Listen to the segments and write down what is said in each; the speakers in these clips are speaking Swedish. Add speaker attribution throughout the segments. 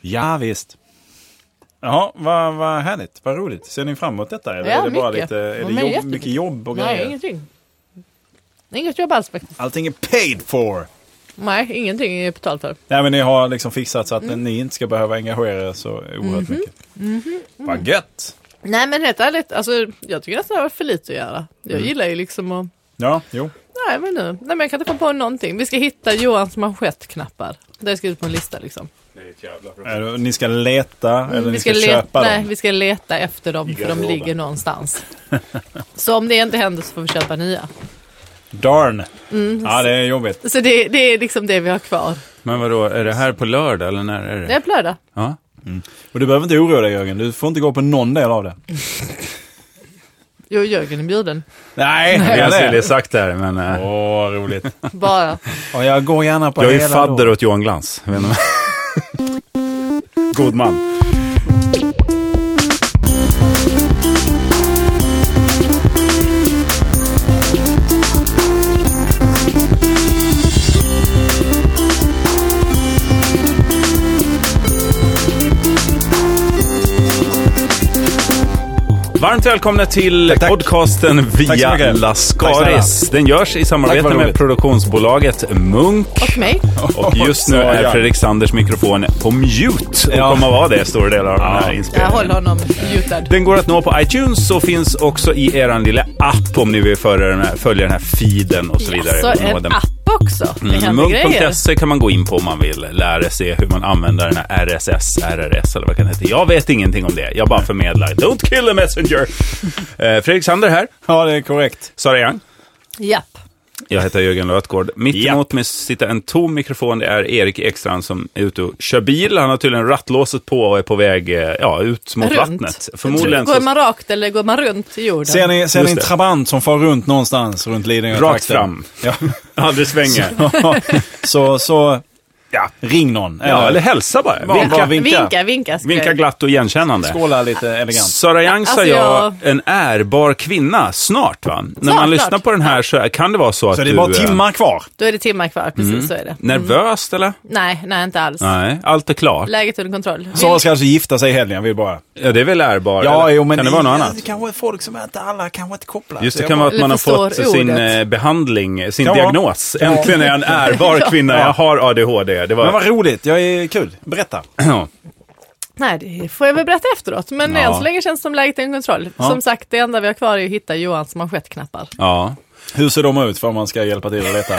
Speaker 1: Ja, visst. Ja, vad, vad härligt. Vad roligt. Ser ni fram emot detta? Eller
Speaker 2: Ja,
Speaker 1: är det bara
Speaker 2: mycket.
Speaker 1: lite, är
Speaker 2: Ja,
Speaker 1: det
Speaker 2: men
Speaker 1: jobb,
Speaker 2: jättemycket.
Speaker 1: mycket jobb och
Speaker 2: Nej,
Speaker 1: grejer?
Speaker 2: ingenting. Inget jobb alls faktiskt.
Speaker 1: Allting är paid for!
Speaker 2: Nej, ingenting är betalt för.
Speaker 1: Nej, men ni har liksom fixat så att ni inte ska behöva engagera er så oerhört mycket. Vad gött!
Speaker 2: Nej men helt ärligt, alltså, jag tycker nästan det var för lite att göra. Jag
Speaker 1: Mm.
Speaker 2: gillar ju liksom att...
Speaker 1: Ja, jo.
Speaker 2: Nej men nu, nej men jag kan inte komma på någonting. Vi ska hitta Johans manschettknappar. Det är skrivet på en lista liksom.
Speaker 1: Eh, Ni ska leta
Speaker 2: Mm,
Speaker 1: eller ni ska, köpa
Speaker 2: nej,
Speaker 1: dem.
Speaker 2: vi ska leta efter dem för de
Speaker 3: garderoben.
Speaker 2: ligger någonstans. Så om det inte händer så får vi köpa nya.
Speaker 1: Darn! Ja, det är jobbigt.
Speaker 2: Så det, det är liksom det vi har kvar.
Speaker 4: Men vadå, är det här på lördag eller när är
Speaker 2: Det är
Speaker 4: det?
Speaker 2: på lördag.
Speaker 4: Ja.
Speaker 1: Och du behöver inte oroa dig Jörgen, du får inte gå på någon del av det.
Speaker 2: Jo, Jörgen är bjuden.
Speaker 1: Nej,
Speaker 4: Jag
Speaker 1: det
Speaker 4: hade
Speaker 1: är
Speaker 4: velat
Speaker 1: det.
Speaker 4: sagt det här, men... eh,
Speaker 1: Åh, vad roligt.
Speaker 2: Bara.
Speaker 1: Och jag går gärna på
Speaker 4: Jag är ju
Speaker 1: hela
Speaker 4: fadder
Speaker 1: då.
Speaker 4: åt Johan Glans. Jag vet inte om- God man. Varmt välkomna till
Speaker 1: tack.
Speaker 4: podcasten
Speaker 1: Tack så
Speaker 4: Via
Speaker 1: mycket. Tack
Speaker 4: Lascaris.
Speaker 1: snälla.
Speaker 4: Den görs i
Speaker 1: Tack,
Speaker 4: samarbete
Speaker 1: vad
Speaker 4: med
Speaker 1: roligt.
Speaker 4: produktionsbolaget Munk.
Speaker 2: Och mig.
Speaker 4: Och just nu
Speaker 1: Så,
Speaker 4: är
Speaker 1: ja.
Speaker 4: Fredrik Sanders mikrofon på mute och
Speaker 1: Ja.
Speaker 4: kommer vara det i stora delar av den här
Speaker 2: Jag håller
Speaker 4: inspelningen.
Speaker 2: honom mutad.
Speaker 4: Den går att nå på iTunes och finns också i er lilla app om ni vill följa den här, följa den här feeden och så vidare.
Speaker 2: Så
Speaker 4: Nå
Speaker 2: Alltså, en
Speaker 4: den.
Speaker 2: app också. Det
Speaker 4: Mm,
Speaker 2: händer grejer.
Speaker 4: Munk.se kan man gå in på om man vill lära sig hur man använder den här RSS, RRS eller vad kan det heta. Jag vet ingenting om det. Jag bara förmedlar. Don't kill the messenger! Eh, Fredrik Sander här.
Speaker 1: Ja, det är korrekt.
Speaker 4: Sara Young.
Speaker 2: Japp.
Speaker 4: Jag heter Jörgen Lötgård. Mitt
Speaker 1: Ja.
Speaker 4: emot mig sitter en tom mikrofon. Det är Erik Ekstrand som är ute och kör bil. Han har tydligen rattlåset på och är på väg eh, ja, ut mot
Speaker 2: Runt.
Speaker 4: vattnet. Förmodligen
Speaker 2: Går
Speaker 4: så
Speaker 2: man rakt eller går man runt i jorden?
Speaker 1: Ser ni, ser ni en
Speaker 4: det.
Speaker 1: trabant som far runt någonstans runt Lidingö?
Speaker 4: rakt fram.
Speaker 1: Ja.
Speaker 4: Aldrig svänger.
Speaker 1: så, så
Speaker 4: Ja.
Speaker 1: ring någon.
Speaker 4: Ja, eller hälsa bara.
Speaker 1: Bara- bara
Speaker 4: Vinka,
Speaker 1: vinka.
Speaker 2: Vinka, vinka. ska
Speaker 4: vinka
Speaker 2: jag-
Speaker 4: glatt och igenkännande.
Speaker 1: skåla lite elegant.
Speaker 4: Sara Young sa
Speaker 2: Alltså,
Speaker 4: jag,
Speaker 2: jag-
Speaker 4: en ärbar kvinna, snart va? När man
Speaker 2: Snart,
Speaker 4: lyssnar
Speaker 2: snart.
Speaker 4: på den här så är- kan det vara så att
Speaker 1: Så det är
Speaker 4: du
Speaker 1: bara
Speaker 4: eh,
Speaker 1: timmar kvar.
Speaker 2: Då är det timmar kvar, precis så är det.
Speaker 4: nervöst eller?
Speaker 2: Nej, nej inte alls.
Speaker 4: Mm. Nej, allt är klart.
Speaker 2: Läget under kontroll.
Speaker 1: Sara ska alltså gifta sig i helgen, jag vill bara.
Speaker 4: Ja, det är väl ärbar?
Speaker 1: Ja,
Speaker 4: eller?
Speaker 1: jo, men
Speaker 4: kan det vara något annat?
Speaker 1: Alltså, Det kanske är folk som inte alla kanske inte kopplar.
Speaker 4: Just det,
Speaker 1: Så
Speaker 4: kan
Speaker 1: jag
Speaker 4: vara att man har
Speaker 2: Alltså, förstår
Speaker 4: fått sin
Speaker 2: ordet.
Speaker 4: eh, behandling, sin
Speaker 1: Ja.
Speaker 4: diagnos. Äntligen är jag en ärbar kvinna, jag har ADHD. Det
Speaker 1: bara- Men
Speaker 4: var...
Speaker 1: vad roligt, jag är kul. Berätta.
Speaker 2: Nej, det får jag väl berätta efteråt. Men
Speaker 4: Ja.
Speaker 2: än så länge känns det som läget är under kontroll. Som sagt, det enda vi har kvar är att hitta Johans manschettknappar.
Speaker 4: Ja.
Speaker 1: Hur ser de ut för om man ska hjälpa till att leta?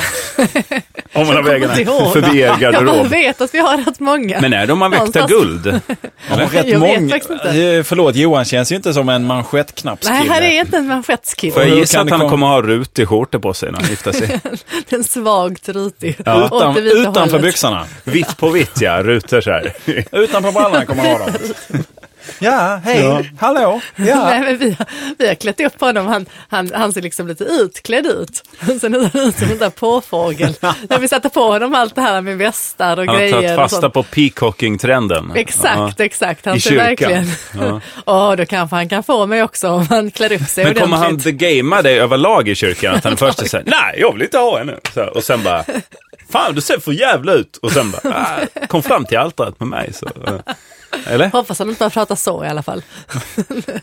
Speaker 4: Om man har vägarna
Speaker 2: inte ihåg.
Speaker 4: förbi er
Speaker 2: Jag bara
Speaker 4: garderob.
Speaker 2: vet att vi har rätt många.
Speaker 4: Men är de man väktar
Speaker 2: Någonstans.
Speaker 4: guld?
Speaker 1: Har rätt
Speaker 2: Jag vet
Speaker 1: många-
Speaker 2: faktiskt inte.
Speaker 1: Eh, Förlåt, Johan känns ju inte som en manschettknappskille.
Speaker 2: Nej, här är inte en manschettskille.
Speaker 4: Får jag
Speaker 1: hur
Speaker 4: gissa
Speaker 1: kan
Speaker 4: att
Speaker 1: det
Speaker 4: han
Speaker 1: komma-
Speaker 4: kommer ha rutig skjorta på sig när han gifter sig?
Speaker 2: En svagt ritig.
Speaker 1: Utan,
Speaker 2: Åt det vita
Speaker 1: utanför
Speaker 2: hållet.
Speaker 1: byxorna.
Speaker 4: Vitt på vitt ja, rutor så här.
Speaker 1: Utanför brallorna kommer man ha dem. Ja, hej, hallå.
Speaker 2: Nej,
Speaker 1: Ja.
Speaker 2: men vi, har, vi har klätt upp honom. Han, han, han ser liksom lite utklädd ut. Han ser nästan ut som en där påfågel. När vi satte på honom allt det här med västar och
Speaker 4: Han har
Speaker 2: grejer.
Speaker 4: tagit
Speaker 2: och
Speaker 4: fasta
Speaker 2: sånt.
Speaker 4: på peacocking-trenden.
Speaker 2: Exakt,
Speaker 4: Ja.
Speaker 2: exakt. Han
Speaker 4: I
Speaker 2: ser
Speaker 4: kyrkan.
Speaker 2: verkligen...
Speaker 4: Ja.
Speaker 2: Ja, då kanske han kan få mig också om han klär upp sig
Speaker 4: Men kommer han
Speaker 2: ordentligt.
Speaker 4: the gamea dig överlag i kyrkan? Att han först är såhär, nej jag vill inte ha henne. Så, här, och sen bara, fan du ser för jävla ut. Och sen bara, ah, kom fram till altaret med mig. Så, eh. eller?
Speaker 2: Hoppas han inte bara pratar så i alla fall.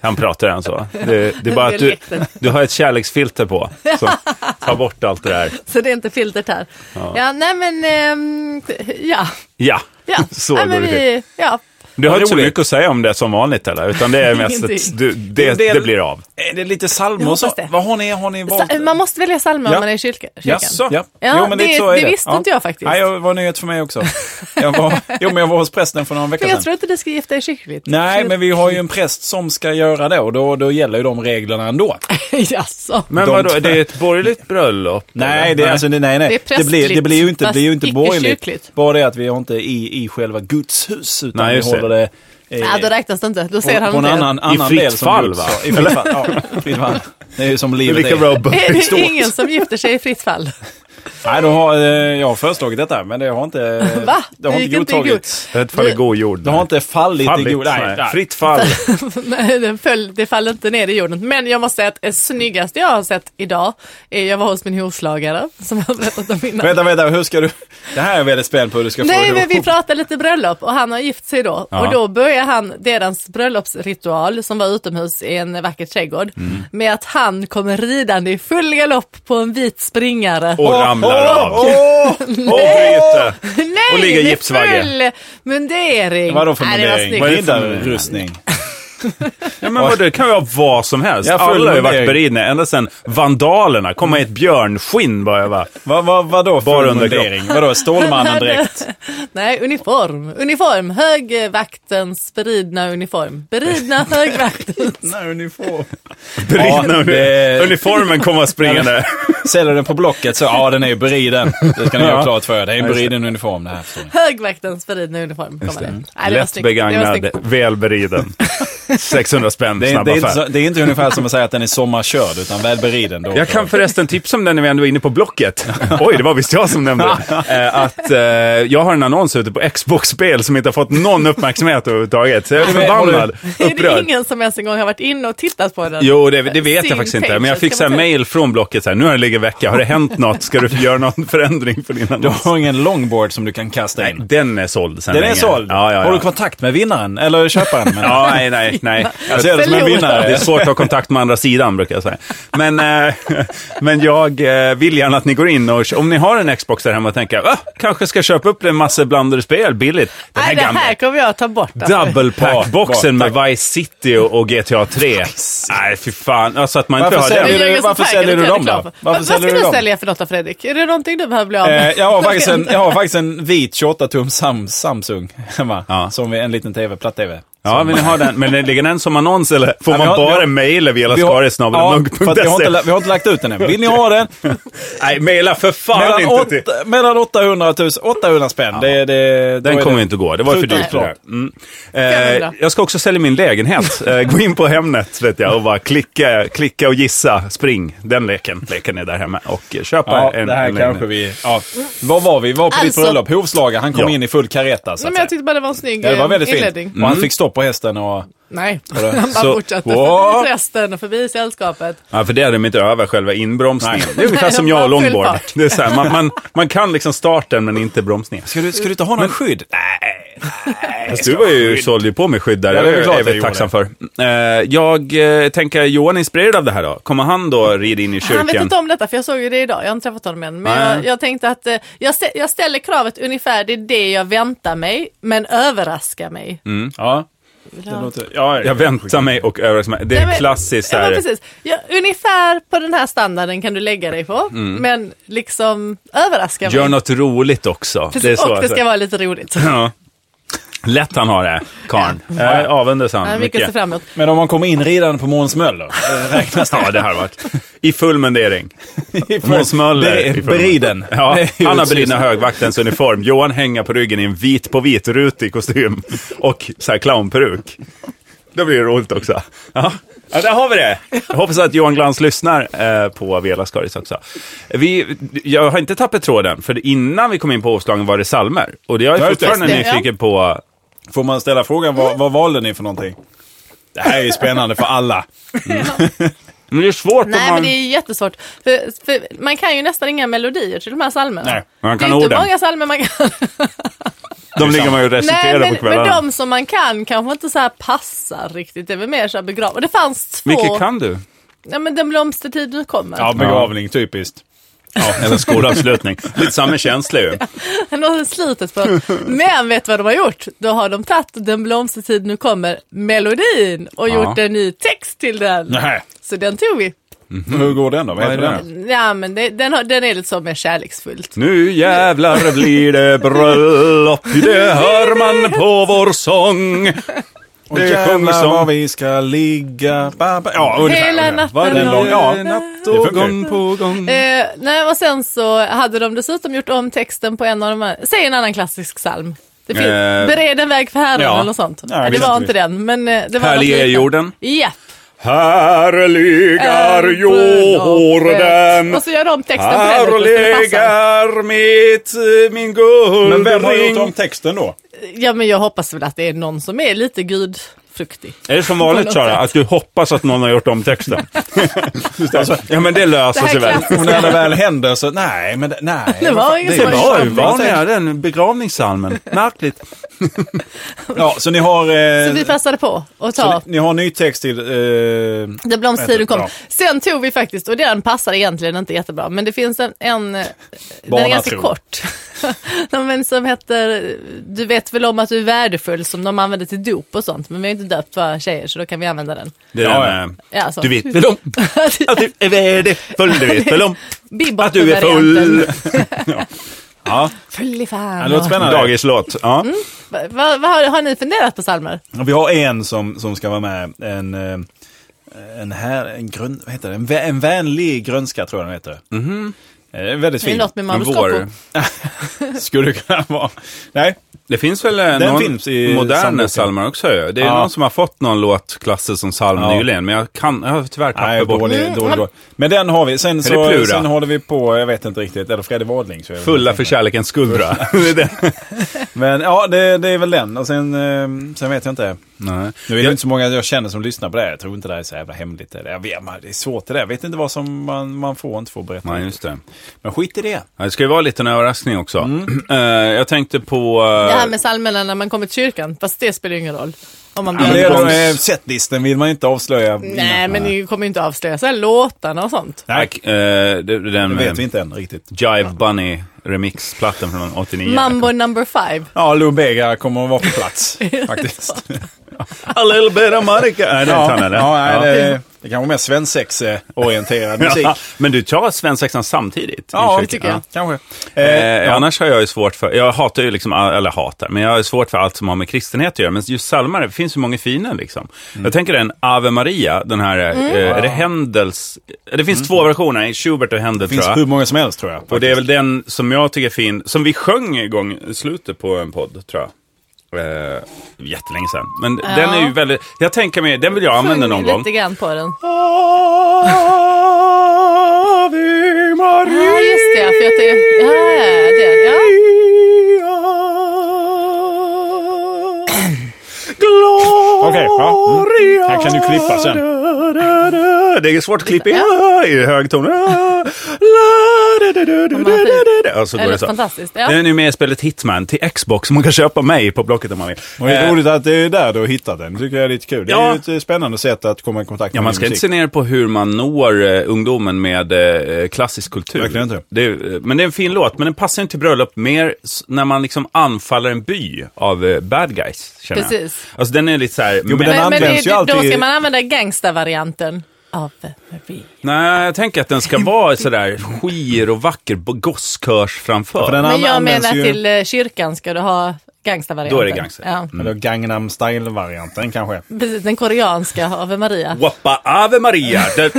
Speaker 4: Han pratar han så. Det, det är bara att du,
Speaker 2: Dialekten.
Speaker 4: du har ett kärleksfilter på. Så, ta bort allt det där.
Speaker 2: Så det är inte filtret här. Ja, nej men... ehm, ja.
Speaker 4: Ja,
Speaker 2: ja.
Speaker 4: så
Speaker 2: nej,
Speaker 4: går
Speaker 2: men
Speaker 4: det till.
Speaker 2: vi, ja.
Speaker 4: Du har inte så
Speaker 1: Roligt.
Speaker 4: mycket att säga om det som vanligt eller? Utan det är mest att
Speaker 2: Ingenting.
Speaker 4: du, det,
Speaker 1: Det är-
Speaker 4: det blir av.
Speaker 1: Är det lite
Speaker 2: Jag
Speaker 1: psalmer och
Speaker 2: hoppas
Speaker 1: så?
Speaker 2: det.
Speaker 1: Vad har ni, har ni valt?
Speaker 2: Sa- Man måste välja psalmer
Speaker 1: Ja.
Speaker 2: om man är i kyrka, kyrkan.
Speaker 1: Jaså? Ja.
Speaker 2: Ja, det- det visste inte jag faktiskt.
Speaker 1: Nej, jag var nyhet för mig också. Jag var, jo, men jag var hos prästen för några veckor
Speaker 2: Men
Speaker 1: sedan.
Speaker 2: jag tror inte du ska gifta dig kyrkligt.
Speaker 1: Nej, men vi har ju en präst som ska göra det och då, då gäller ju de reglerna ändå.
Speaker 2: Jaså?
Speaker 4: Men
Speaker 1: De
Speaker 4: vadå,
Speaker 1: två-
Speaker 4: är det ett borgerligt bröllop?
Speaker 1: Nej,
Speaker 4: eller?
Speaker 1: det, alltså, det, nej,
Speaker 2: Det
Speaker 1: nej.
Speaker 2: är
Speaker 1: Det, blir, det blir ju inte, det
Speaker 2: fast
Speaker 1: blir ju inte borgerligt.
Speaker 2: icke-kyrkligt.
Speaker 1: Bara det att vi har inte i, i själva Guds hus, utan
Speaker 4: Nej,
Speaker 1: vi
Speaker 4: just det.
Speaker 1: håller det eh,
Speaker 2: Ja, då räknas det inte. Då
Speaker 1: på,
Speaker 2: ser han
Speaker 1: på en
Speaker 2: inte.
Speaker 1: annan, annan
Speaker 4: fritt
Speaker 1: del. som
Speaker 4: fall,
Speaker 1: Guds-
Speaker 4: va?
Speaker 1: Ja, I fritt fall, ja. Fritt fall. Det är ju som
Speaker 4: Det är
Speaker 1: livet
Speaker 4: lika bra att
Speaker 2: Är
Speaker 4: börja
Speaker 2: det
Speaker 4: stå.
Speaker 2: ingen som gifter sig i fritt fall?
Speaker 1: Nej, de har, eh, jag har föreslagit detta, men det har inte,
Speaker 2: Va?
Speaker 1: det har inte
Speaker 2: Det gick inte i
Speaker 1: godtagits.
Speaker 4: Rätt fall är god jord.
Speaker 1: Det har inte fallit i
Speaker 4: fallit.
Speaker 1: god... Nej, nej.
Speaker 4: Fritt fall.
Speaker 2: Nej, den föll, det faller inte ner i jorden. Men jag måste säga att det snyggaste jag har sett idag, är jag var hos min hovslagare, som jag har berättat om innan.
Speaker 1: Vänta, vänta, hur ska du... Det här är jag väldigt spänd på hur du ska få
Speaker 2: Nej,
Speaker 1: det
Speaker 2: men vi
Speaker 1: ihop.
Speaker 2: pratade lite bröllop och han har gift sig då.
Speaker 1: Ja.
Speaker 2: Och då börjar han deras bröllopsritual som var utomhus i en vacker trädgård
Speaker 1: Mm.
Speaker 2: med att han kommer ridande i full galopp på en vit springare.
Speaker 4: Och ramlar
Speaker 1: Åh,
Speaker 4: av.
Speaker 1: åh, åh!
Speaker 4: Och bryter.
Speaker 2: Nej,
Speaker 4: och ligger
Speaker 2: med
Speaker 4: gipsvagge.
Speaker 2: full mundering.
Speaker 1: Vadå för
Speaker 2: Nej, det var
Speaker 1: mundering?
Speaker 2: snyggt.
Speaker 1: Vad är
Speaker 4: snyggt.
Speaker 1: det för rustning?
Speaker 4: Ja, men vadå, det kan ju vara vad som helst.
Speaker 1: Ja, full
Speaker 4: Alla har ju varit
Speaker 1: mundering.
Speaker 4: beridna ända sedan vandalerna komma i ett björnskinn bara. va?
Speaker 1: Vad, vad, vadå för
Speaker 4: Bara under
Speaker 1: mundering? Vadå, Stålmannen direkt?
Speaker 2: Nej, uniform. Uniform. Högvaktens beridna uniform. Beridna högvakten.
Speaker 1: Nej, uniform.
Speaker 4: Beridna
Speaker 1: Ja, det-
Speaker 4: uniformen kommer springande.
Speaker 1: Säljer den på Blocket så, ja den är ju beriden. Det ska ni
Speaker 4: Ja.
Speaker 1: ha klart för er. Det är en
Speaker 4: Ja, just
Speaker 1: beriden uniform det här. förstår ni.
Speaker 2: Högvaktens beridna uniform. Kommer det. Nej, det var
Speaker 4: Lätt
Speaker 2: snyggt. Det var
Speaker 4: begagnad,
Speaker 2: snyggt.
Speaker 4: välberiden. 600 spänn,
Speaker 1: Det är,
Speaker 4: snabb
Speaker 1: det, är inte,
Speaker 4: affär.
Speaker 1: så, det är inte ungefär som att säga att den är sommarkörd, utan väl beriden. Då.
Speaker 4: Jag kan förresten tipsa om den när vi ändå är inne på Blocket. Oj, det var visst jag som nämnde det. Eh, Att eh, jag har en annons ute på Xbox-spel som inte har fått någon uppmärksamhet överhuvudtaget. Så jag är förbannad,
Speaker 2: Är det
Speaker 4: upprörd.
Speaker 2: ingen som ens en gång har varit inne och tittat på den?
Speaker 4: Jo, det, det vet jag
Speaker 2: Sin
Speaker 4: faktiskt inte.
Speaker 2: page,
Speaker 4: Men jag fick
Speaker 2: ska
Speaker 4: så
Speaker 2: man
Speaker 4: här
Speaker 2: säga.
Speaker 4: mail från Blocket. Så här, nu har det legat vecka. Har det hänt något? Ska du göra någon förändring på din
Speaker 1: Du
Speaker 4: annons?
Speaker 1: har ingen longboard som du kan kasta in.
Speaker 4: Den är såld sen
Speaker 1: Den är
Speaker 4: länge.
Speaker 1: såld.
Speaker 4: Ja, ja, ja.
Speaker 1: Har du kontakt med vinnaren? Eller köparen? Men,
Speaker 4: Ja, nej, nej, nej.
Speaker 1: Jag ser det som en
Speaker 2: Förlåt.
Speaker 1: vinnare.
Speaker 4: Det är svårt att ha kontakt med andra sidan, brukar jag säga. Men, eh, men jag eh, vill gärna att ni går in och, om ni har en Xbox där hemma och tänker, ah, kanske ska köpa upp en massa blandade spel billigt. Den här
Speaker 2: Nej, det
Speaker 4: gamla
Speaker 2: här kommer jag att ta bort. alltså.
Speaker 4: double pack-boxen
Speaker 1: Bra,
Speaker 4: med Vice City och, och GTA 3. Nej, fy fan. Alltså att man inte
Speaker 1: Varför
Speaker 4: har
Speaker 1: säljer
Speaker 4: den.
Speaker 2: Jag är
Speaker 1: du-
Speaker 2: ingen som
Speaker 1: varför
Speaker 2: taggad
Speaker 1: säljer
Speaker 2: att
Speaker 1: du
Speaker 2: jag är
Speaker 1: dem då?
Speaker 2: klar för.
Speaker 1: Varför
Speaker 2: Vad
Speaker 1: säljer
Speaker 2: ska
Speaker 1: du
Speaker 2: du
Speaker 1: dem?
Speaker 2: sälja för något då, Fredrik? Är det någonting du behöver bli av
Speaker 1: Eh,
Speaker 2: med?
Speaker 1: jag, har faktiskt en, jag har faktiskt en vit 28-tum sam, Samsung hemma.
Speaker 4: Ja.
Speaker 1: Som är en liten TV, platt-TV.
Speaker 4: Ja, vill ni ha den? Men ligger den som annons eller får
Speaker 1: Ja, vi
Speaker 4: man
Speaker 1: har- vi har-
Speaker 4: bara mejla via
Speaker 1: Vi har- ja, för att vi, har inte,
Speaker 4: lascaris.munk.se?
Speaker 1: la- vi har inte lagt ut den än. Vill ni ha den?
Speaker 4: Nej, mejla för fan
Speaker 1: Mellan,
Speaker 4: inte till...
Speaker 1: åtta, mellan 800 000, 800 spänn. Det, det, då
Speaker 4: Den
Speaker 1: är
Speaker 4: kommer
Speaker 1: det-
Speaker 4: ju inte gå. Det var för dyrt. för det. Mm. Eh,
Speaker 2: 500.
Speaker 4: jag ska också sälja min lägenhet. Eh, gå in på Hemnet vet jag, och bara klicka, klicka och gissa. Spring. Den leken. Leken är där hemma. Och eh, köpa
Speaker 1: Ja,
Speaker 4: en,
Speaker 1: det här
Speaker 4: en
Speaker 1: kanske
Speaker 4: lägenhet.
Speaker 1: vi... Ja. Var var vi? Vi var på ditt
Speaker 2: Alltså-
Speaker 1: bröllop. Hovslagaren, han kom
Speaker 4: Ja.
Speaker 1: in i full kareta. Så
Speaker 2: Nej,
Speaker 1: att
Speaker 2: men jag
Speaker 1: säga.
Speaker 2: tyckte bara det var en snygg
Speaker 1: Ja, det var
Speaker 2: eh,
Speaker 1: väldigt fint.
Speaker 2: inledning.
Speaker 1: Och han fick stopp på hästen och...
Speaker 2: Nej,
Speaker 1: det-
Speaker 2: han bara
Speaker 4: Så-
Speaker 2: fortsatte
Speaker 4: Wow.
Speaker 2: förbi resten och förbi sällskapet.
Speaker 4: Ja, för det är de inte över, själva inbromsningen.
Speaker 1: Nej.
Speaker 4: Det är ungefär
Speaker 2: Nej,
Speaker 4: som
Speaker 2: de
Speaker 4: jag
Speaker 2: bara
Speaker 4: och longboard.
Speaker 2: full fart.
Speaker 4: Det är så här, man, man, man kan liksom starten men inte bromsningen.
Speaker 1: Ska du, ska du inte ha någon skydd?
Speaker 4: Nej, nej. Fast du var ju, sålde ju på mig skydd där.
Speaker 1: Ja, det är väl
Speaker 4: jag
Speaker 1: klart
Speaker 4: är
Speaker 1: jag
Speaker 4: väldigt
Speaker 1: gjorde.
Speaker 4: tacksam för. Eh, jag eh, tänker, Johan är inspirerad av det här då. Kommer han då rida in i kyrkan?
Speaker 2: Han vet inte om detta för jag såg ju det idag, jag har inte träffat honom än. Men
Speaker 4: Nej.
Speaker 2: jag, jag tänkte att eh, jag, stä- jag ställer kravet ungefär, det är det jag väntar mig, men överraska mig.
Speaker 4: Mm,
Speaker 1: Ja. Det låter, ja,
Speaker 4: Jag väntar mig och överraskar mig. Det
Speaker 2: Nej,
Speaker 4: är
Speaker 2: men-
Speaker 4: klassiskt. så
Speaker 2: Ja,
Speaker 4: här-
Speaker 2: men precis. Ja, ungefär på den här standarden kan du lägga dig på, men liksom överraska
Speaker 4: Mm. Gör
Speaker 2: mig.
Speaker 4: något roligt också.
Speaker 2: Precis,
Speaker 4: Det är så,
Speaker 2: och det ska
Speaker 4: alltså.
Speaker 2: vara lite roligt.
Speaker 4: ja. Lätt han har det, karln. Jag är avundas
Speaker 2: Ja,
Speaker 4: han
Speaker 2: mycket att se
Speaker 4: mycket.
Speaker 2: fram emot.
Speaker 1: Men om man kommer in ridande på Måns Möller? eh,
Speaker 4: Ja, det här har varit. I full mundering. Måns
Speaker 1: Ber-
Speaker 4: Möller. i full mundering.
Speaker 1: beriden.
Speaker 4: Ja,
Speaker 1: Det är ju
Speaker 4: han har
Speaker 1: ett
Speaker 4: beridna
Speaker 1: syfte.
Speaker 4: högvaktens uniform. Johan hänger på ryggen i en vit på vit rutig kostym. Och så här clownperuk. Då blir det roligt också. Ja. Ja, där har vi det. Jag hoppas att Johan Glans lyssnar eh, på Vela Skaris också. Vi, jag har inte tappat tråden, för innan vi kom in på Åslagen var det salmer. Och jag
Speaker 1: Ja,
Speaker 4: är
Speaker 1: just det.
Speaker 4: fortfarande
Speaker 2: Just det, ja.
Speaker 4: nyfiken på
Speaker 1: Får man ställa frågan, vad, vad valde ni för någonting? Det här är ju spännande för alla.
Speaker 4: Men det är svårt
Speaker 2: Nej,
Speaker 4: om man...
Speaker 2: men det är jättesvårt. För, för man kan ju nästan inga melodier till de här psalmerna.
Speaker 1: Nej,
Speaker 4: man kan
Speaker 2: det är inte
Speaker 4: orden.
Speaker 2: många psalmer man kan.
Speaker 4: De ligger man ju och
Speaker 2: Nej,
Speaker 4: reciterar
Speaker 2: men,
Speaker 4: på
Speaker 2: men
Speaker 4: kvällarna.
Speaker 2: de som man kan kanske inte så här passar riktigt. Det är väl mer så här begrav... Och det fanns två.
Speaker 4: Vilket kan du?
Speaker 2: Ja, men Den blomstertid nu kommer.
Speaker 1: Ja, begravning, typiskt.
Speaker 4: Ja, eller skolavslutning. Lite samma känsla ju.
Speaker 2: Något i slutet på. Men vet du vad de har gjort? Då har de tagit Den blomstertid nu kommer melodin och
Speaker 4: Ja.
Speaker 2: gjort en ny text till den.
Speaker 1: Nej.
Speaker 2: Så den tog vi.
Speaker 1: Hur går den då? Vad
Speaker 4: Vad
Speaker 1: heter
Speaker 4: är
Speaker 1: den?
Speaker 2: Ja, men det, den, har, den är lite så mer kärleksfullt.
Speaker 4: Nu jävlar blir det bröllop, det hör man på vår sång.
Speaker 1: Och
Speaker 4: Det sjunger
Speaker 1: jävlar
Speaker 4: som-
Speaker 1: var vi ska ligga. Ba, ba. Ja, ungefär.
Speaker 2: Hela
Speaker 1: ungefär.
Speaker 2: natten
Speaker 1: Var den
Speaker 2: och-
Speaker 1: lång? Ja.
Speaker 4: Natt
Speaker 1: Det
Speaker 4: och
Speaker 1: funkar ju.
Speaker 4: gång på gång.
Speaker 2: Eh, nej, och sen så hade de dessutom gjort om texten på en av de här, säg en annan klassisk psalm. Det finns,
Speaker 4: Eh,
Speaker 2: Bered en väg för Herren
Speaker 4: ja.
Speaker 2: eller något sånt.
Speaker 1: Ja, jag
Speaker 2: det
Speaker 1: vet
Speaker 2: var
Speaker 1: inte.
Speaker 2: inte den, men eh, det var
Speaker 4: Härlig
Speaker 2: något
Speaker 4: är
Speaker 2: liknande.
Speaker 4: jorden.
Speaker 2: Ja,
Speaker 4: Här ligger jorden.
Speaker 2: Och så gör de texten på den
Speaker 4: Här
Speaker 2: lite, för det passar.
Speaker 4: ligger mitt, eh, min guldring.
Speaker 1: Men vem har gjort om texten då?
Speaker 2: Ja, men jag hoppas väl att det är någon som är lite gudfruktig.
Speaker 4: Är det som
Speaker 2: På
Speaker 4: vanligt
Speaker 2: något
Speaker 4: Sara,
Speaker 2: sätt.
Speaker 4: att du hoppas att någon har gjort om texten?
Speaker 1: Alltså,
Speaker 4: ja men det löser
Speaker 2: Det här
Speaker 4: sig väl.
Speaker 2: klassiska.
Speaker 1: och när det väl händer så, nej, men det- nej.
Speaker 2: Det var ju
Speaker 1: det
Speaker 2: så.
Speaker 1: var ju
Speaker 4: vanliga,
Speaker 1: vanligt.
Speaker 4: den begravningssalmen. Märkligt.
Speaker 1: Ja, så ni har... Eh,
Speaker 2: Så vi passade på att
Speaker 1: så
Speaker 2: ta
Speaker 1: ni, ni har ny text till... Eh,
Speaker 2: Det blomstertiden kom.
Speaker 1: Ja.
Speaker 2: Sen tog vi faktiskt, och den passar egentligen inte jättebra, men det finns en, en eh, den är ganska
Speaker 1: Barnatro.
Speaker 2: kort. Nej, men som heter eh, Du vet väl om att du är värdefull som de använder till dop och sånt, men vi har ju inte döpt våra tjejer så då kan vi använda den.
Speaker 4: Det är
Speaker 1: Ja,
Speaker 4: den,
Speaker 2: Ja, alltså.
Speaker 4: eh, Du vet väl om att du är värdefull, du vet väl om
Speaker 2: Bibop
Speaker 4: att du är full. ja,
Speaker 2: Full i fan.
Speaker 1: det låter spännande.
Speaker 4: dagislåt. Ja.
Speaker 2: Mm, Va- va- vad har, har ni funderat på psalmer?
Speaker 1: Och Vi har en som, som ska vara med. En, eh, en, här, en, grön, vad heter det? en, vä- en vänlig grönska tror jag den heter. Mm.
Speaker 4: Mhm.
Speaker 1: Väldigt
Speaker 2: Är det
Speaker 1: fin. Mm.
Speaker 2: något med
Speaker 4: Men
Speaker 2: Mauro
Speaker 4: vår,
Speaker 2: Scocco?
Speaker 1: Skulle det kunna vara. Nej,
Speaker 4: det finns väl eh,
Speaker 1: Den
Speaker 4: någon
Speaker 1: finns i
Speaker 4: moderna
Speaker 1: psalmboken.
Speaker 4: psalmer också ju. Det är
Speaker 1: Ja.
Speaker 4: någon som har fått någon låt klassad som psalm
Speaker 1: Ja.
Speaker 4: nyligen, men jag, kan, jag har tyvärr
Speaker 1: Nej
Speaker 4: tappat bort.
Speaker 1: dålig,
Speaker 2: Mm.
Speaker 1: dålig, dålig. Men den har vi. Sen,
Speaker 4: det Plura?
Speaker 1: så, sen håller vi på, jag vet inte riktigt, eller Fredrik Wadling. Så jag vet
Speaker 4: Fulla
Speaker 1: inte.
Speaker 4: för kärlekens skull, tror jag. Det är det.
Speaker 1: Men ja, det, det är väl den. Och sen, eh, sen vet jag inte.
Speaker 4: Nej.
Speaker 1: Nu är det inte så många jag känner som lyssnar på det här. Jag tror inte det här är så jävla hemligt. Eller, Jag vet, man, det är svårt det där. Jag vet inte vad som man, man får och inte får berätta.
Speaker 4: Nej, just det.
Speaker 1: Men skit i det.
Speaker 4: Ja, Det ska ju vara lite en överraskning också.
Speaker 1: Mm.
Speaker 4: Eh, jag tänkte på... eh,
Speaker 2: Det här med psalmerna när man kommer till kyrkan, fast det spelar ju ingen roll. Om man
Speaker 1: Men
Speaker 2: blir
Speaker 1: det är
Speaker 4: de-
Speaker 1: de, eh, setlisten vill man inte avslöja.
Speaker 2: Nej, men ni kommer ju inte avslöja så här låtarna och sånt.
Speaker 1: Nej,
Speaker 4: eh, det- det- den
Speaker 1: det vet vi
Speaker 4: med
Speaker 1: inte än riktigt.
Speaker 4: Jive Bunny remixplattan från 89.
Speaker 2: Mambo number five.
Speaker 1: Ja, Lou Bega kommer att vara på plats faktiskt.
Speaker 4: A little bit of Monica. Nej, det är inte han,
Speaker 1: ja,
Speaker 4: eller?
Speaker 1: ja, nej, det, det kanske är mer svensex-orienterad musik.
Speaker 4: Ja. Men du tar svensexan samtidigt?
Speaker 1: Ja,
Speaker 4: Ursäkta.
Speaker 2: tycker jag.
Speaker 1: kanske.
Speaker 4: Eh,
Speaker 1: Eh,
Speaker 4: Annars har jag ju svårt för, jag hatar ju liksom, all- eller hatar, men jag har ju svårt för allt som har med kristenhet att göra. Men just psalmar, det finns ju många fina liksom.
Speaker 1: Mm.
Speaker 4: Jag tänker den Ave Maria, den här, eh, är det Händels? Det finns två versioner, Schubert och Händel
Speaker 1: Mm. det finns
Speaker 4: tror
Speaker 1: hur
Speaker 4: jag.
Speaker 1: många som helst tror jag.
Speaker 4: Och det är väl den som jag tycker är fin, som vi sjöng en gång i slutet på en podd, tror jag. Eh, jättelänge sedan. Men den är ju väldigt, jag tänker mig, den vill jag använda någon gång.
Speaker 2: lite grann på den.
Speaker 4: Ave Maria.
Speaker 2: Ja, just det. För att det, ja, ja, det ja.
Speaker 1: Okej, ja. Mm. Här kan du klippa sen.
Speaker 4: Det är svårt att klippa i, i hög ton. Ja, så
Speaker 2: Det
Speaker 4: går det
Speaker 2: låter
Speaker 4: så.
Speaker 2: fantastiskt. Ja.
Speaker 4: Den är ju med i spelet Hitman till Xbox. Man kan köpa mig på Blocket om man vill.
Speaker 1: Och det är
Speaker 4: Eh,
Speaker 1: roligt att det är där du har hittat den. Det tycker jag är lite kul.
Speaker 4: Ja.
Speaker 1: Det är ju ett eh, spännande sätt att komma i kontakt med
Speaker 4: Ja, man
Speaker 1: ny
Speaker 4: ska inte
Speaker 1: musik.
Speaker 4: se ner på hur man når eh, ungdomen med eh, klassisk kultur.
Speaker 1: Verkligen inte.
Speaker 4: Det är, eh, men det är en fin låt, men den passar inte till bröllop mer s- när man liksom anfaller en by av eh, bad guys. Känner
Speaker 2: Precis.
Speaker 4: Jag. Alltså den är lite så här...
Speaker 1: men den
Speaker 2: Men, men
Speaker 1: används
Speaker 2: det,
Speaker 1: ju alltid
Speaker 2: då
Speaker 1: i-
Speaker 2: ska man använda gangsta-varianten av Marie.
Speaker 4: Nej, jag tänker att den ska vara sådär skir och vacker, bo- gosskörs framför.
Speaker 1: För den
Speaker 2: Men jag
Speaker 1: används
Speaker 2: menar
Speaker 1: ju-
Speaker 2: till eh, kyrkan ska du ha gangsta-varianten.
Speaker 4: Då är det Mm. gangsta.
Speaker 2: Ja.
Speaker 1: Eller Gangnam style-varianten kanske.
Speaker 4: Mm.
Speaker 2: Precis, den koreanska Ave Maria.
Speaker 4: Wappa Ave Maria. Det-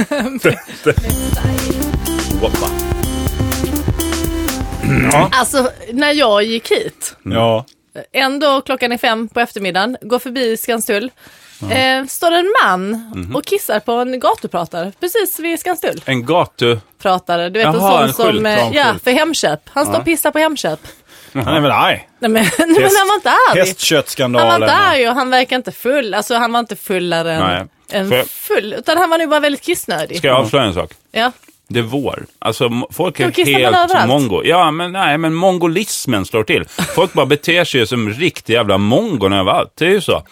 Speaker 4: Wappa.
Speaker 2: Alltså, när jag gick hit,
Speaker 1: Ja.
Speaker 2: ändå klockan är fem på eftermiddagen, går förbi Skanstull, eh, står en man
Speaker 4: Mhm.
Speaker 2: och kissar på en gatupratare precis vid Skanstull.
Speaker 4: En gatu...
Speaker 2: pratare. Du vet
Speaker 4: Jaha, en
Speaker 2: en sån som,
Speaker 4: skylt,
Speaker 2: eh,
Speaker 4: en
Speaker 2: ja,
Speaker 4: skylt.
Speaker 2: för Hemköp. Han står och pissar på Hemköp.
Speaker 1: Han är väl arg.
Speaker 2: Nej men, nej, men han var inte arg. Han var
Speaker 1: Hästköttskandalen.
Speaker 2: inte arg och han verkar inte full. Alltså han var inte fullare än,
Speaker 4: Nej.
Speaker 2: än
Speaker 4: Får jag-
Speaker 2: full. Utan han var nog bara väldigt kissnödig.
Speaker 4: Ska jag avslöja en sak?
Speaker 2: Ja.
Speaker 4: Det är vår. Alltså m- folk
Speaker 2: Då
Speaker 4: är
Speaker 2: kissar man
Speaker 4: helt
Speaker 2: överallt.
Speaker 4: mongo. Ja, men nej, men mongolismen slår till. Folk bara beter sig ju som riktiga jävla mongon överallt. Det är ju så.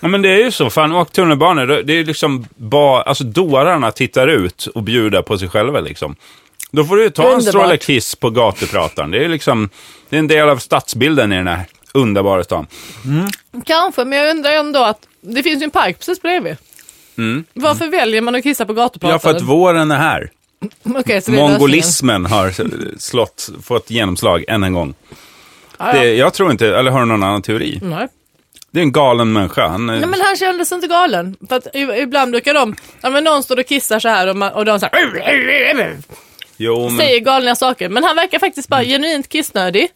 Speaker 4: Ja, men det är ju så. Fan, åk tunnelbana. Det det är liksom bara, alltså dårarna tittar ut och bjuder på sig själva liksom. Då får du ju ta en
Speaker 2: Underbart.
Speaker 4: stråle kiss på gatuprataren. Det är ju liksom, det är en del av stadsbilden i den här underbara stan.
Speaker 2: Kanske, men jag undrar ju ändå att det finns ju en park precis bredvid. Varför väljer man att kissa på
Speaker 4: Mm. Ja, för
Speaker 2: gatuprataren?
Speaker 4: att våren är här.
Speaker 2: Okej, så det är lösningen.
Speaker 4: Mongolismen har slått, fått genomslag än en gång.
Speaker 2: Ah, Ja, ja.
Speaker 4: Det, jag tror inte, eller har du någon annan teori?
Speaker 2: Nej.
Speaker 4: Det är en galen människa. Han,
Speaker 2: Nej men han kändes inte galen. För att i- ibland brukar de, ja men någon står och kissar så här och, man, och de så här,
Speaker 4: jo, men,
Speaker 2: säger galna saker. Men han verkar faktiskt bara
Speaker 4: Mm.
Speaker 2: genuint kissnödig.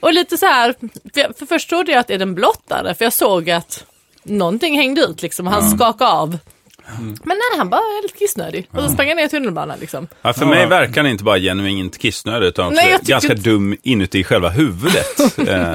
Speaker 2: Och lite så här, för, jag, för först trodde jag att är den blottare? För jag såg att någonting hängde ut liksom och han skakade av.
Speaker 4: Mm.
Speaker 2: Men nej, han bara är lite kissnödig. Och så sprang han ner i tunnelbanan liksom.
Speaker 4: Ja, för mig verkar han inte bara genuint kissnödig utan också
Speaker 2: Nej, jag tycker
Speaker 4: ganska
Speaker 2: inte-
Speaker 4: dum inuti själva huvudet. eh,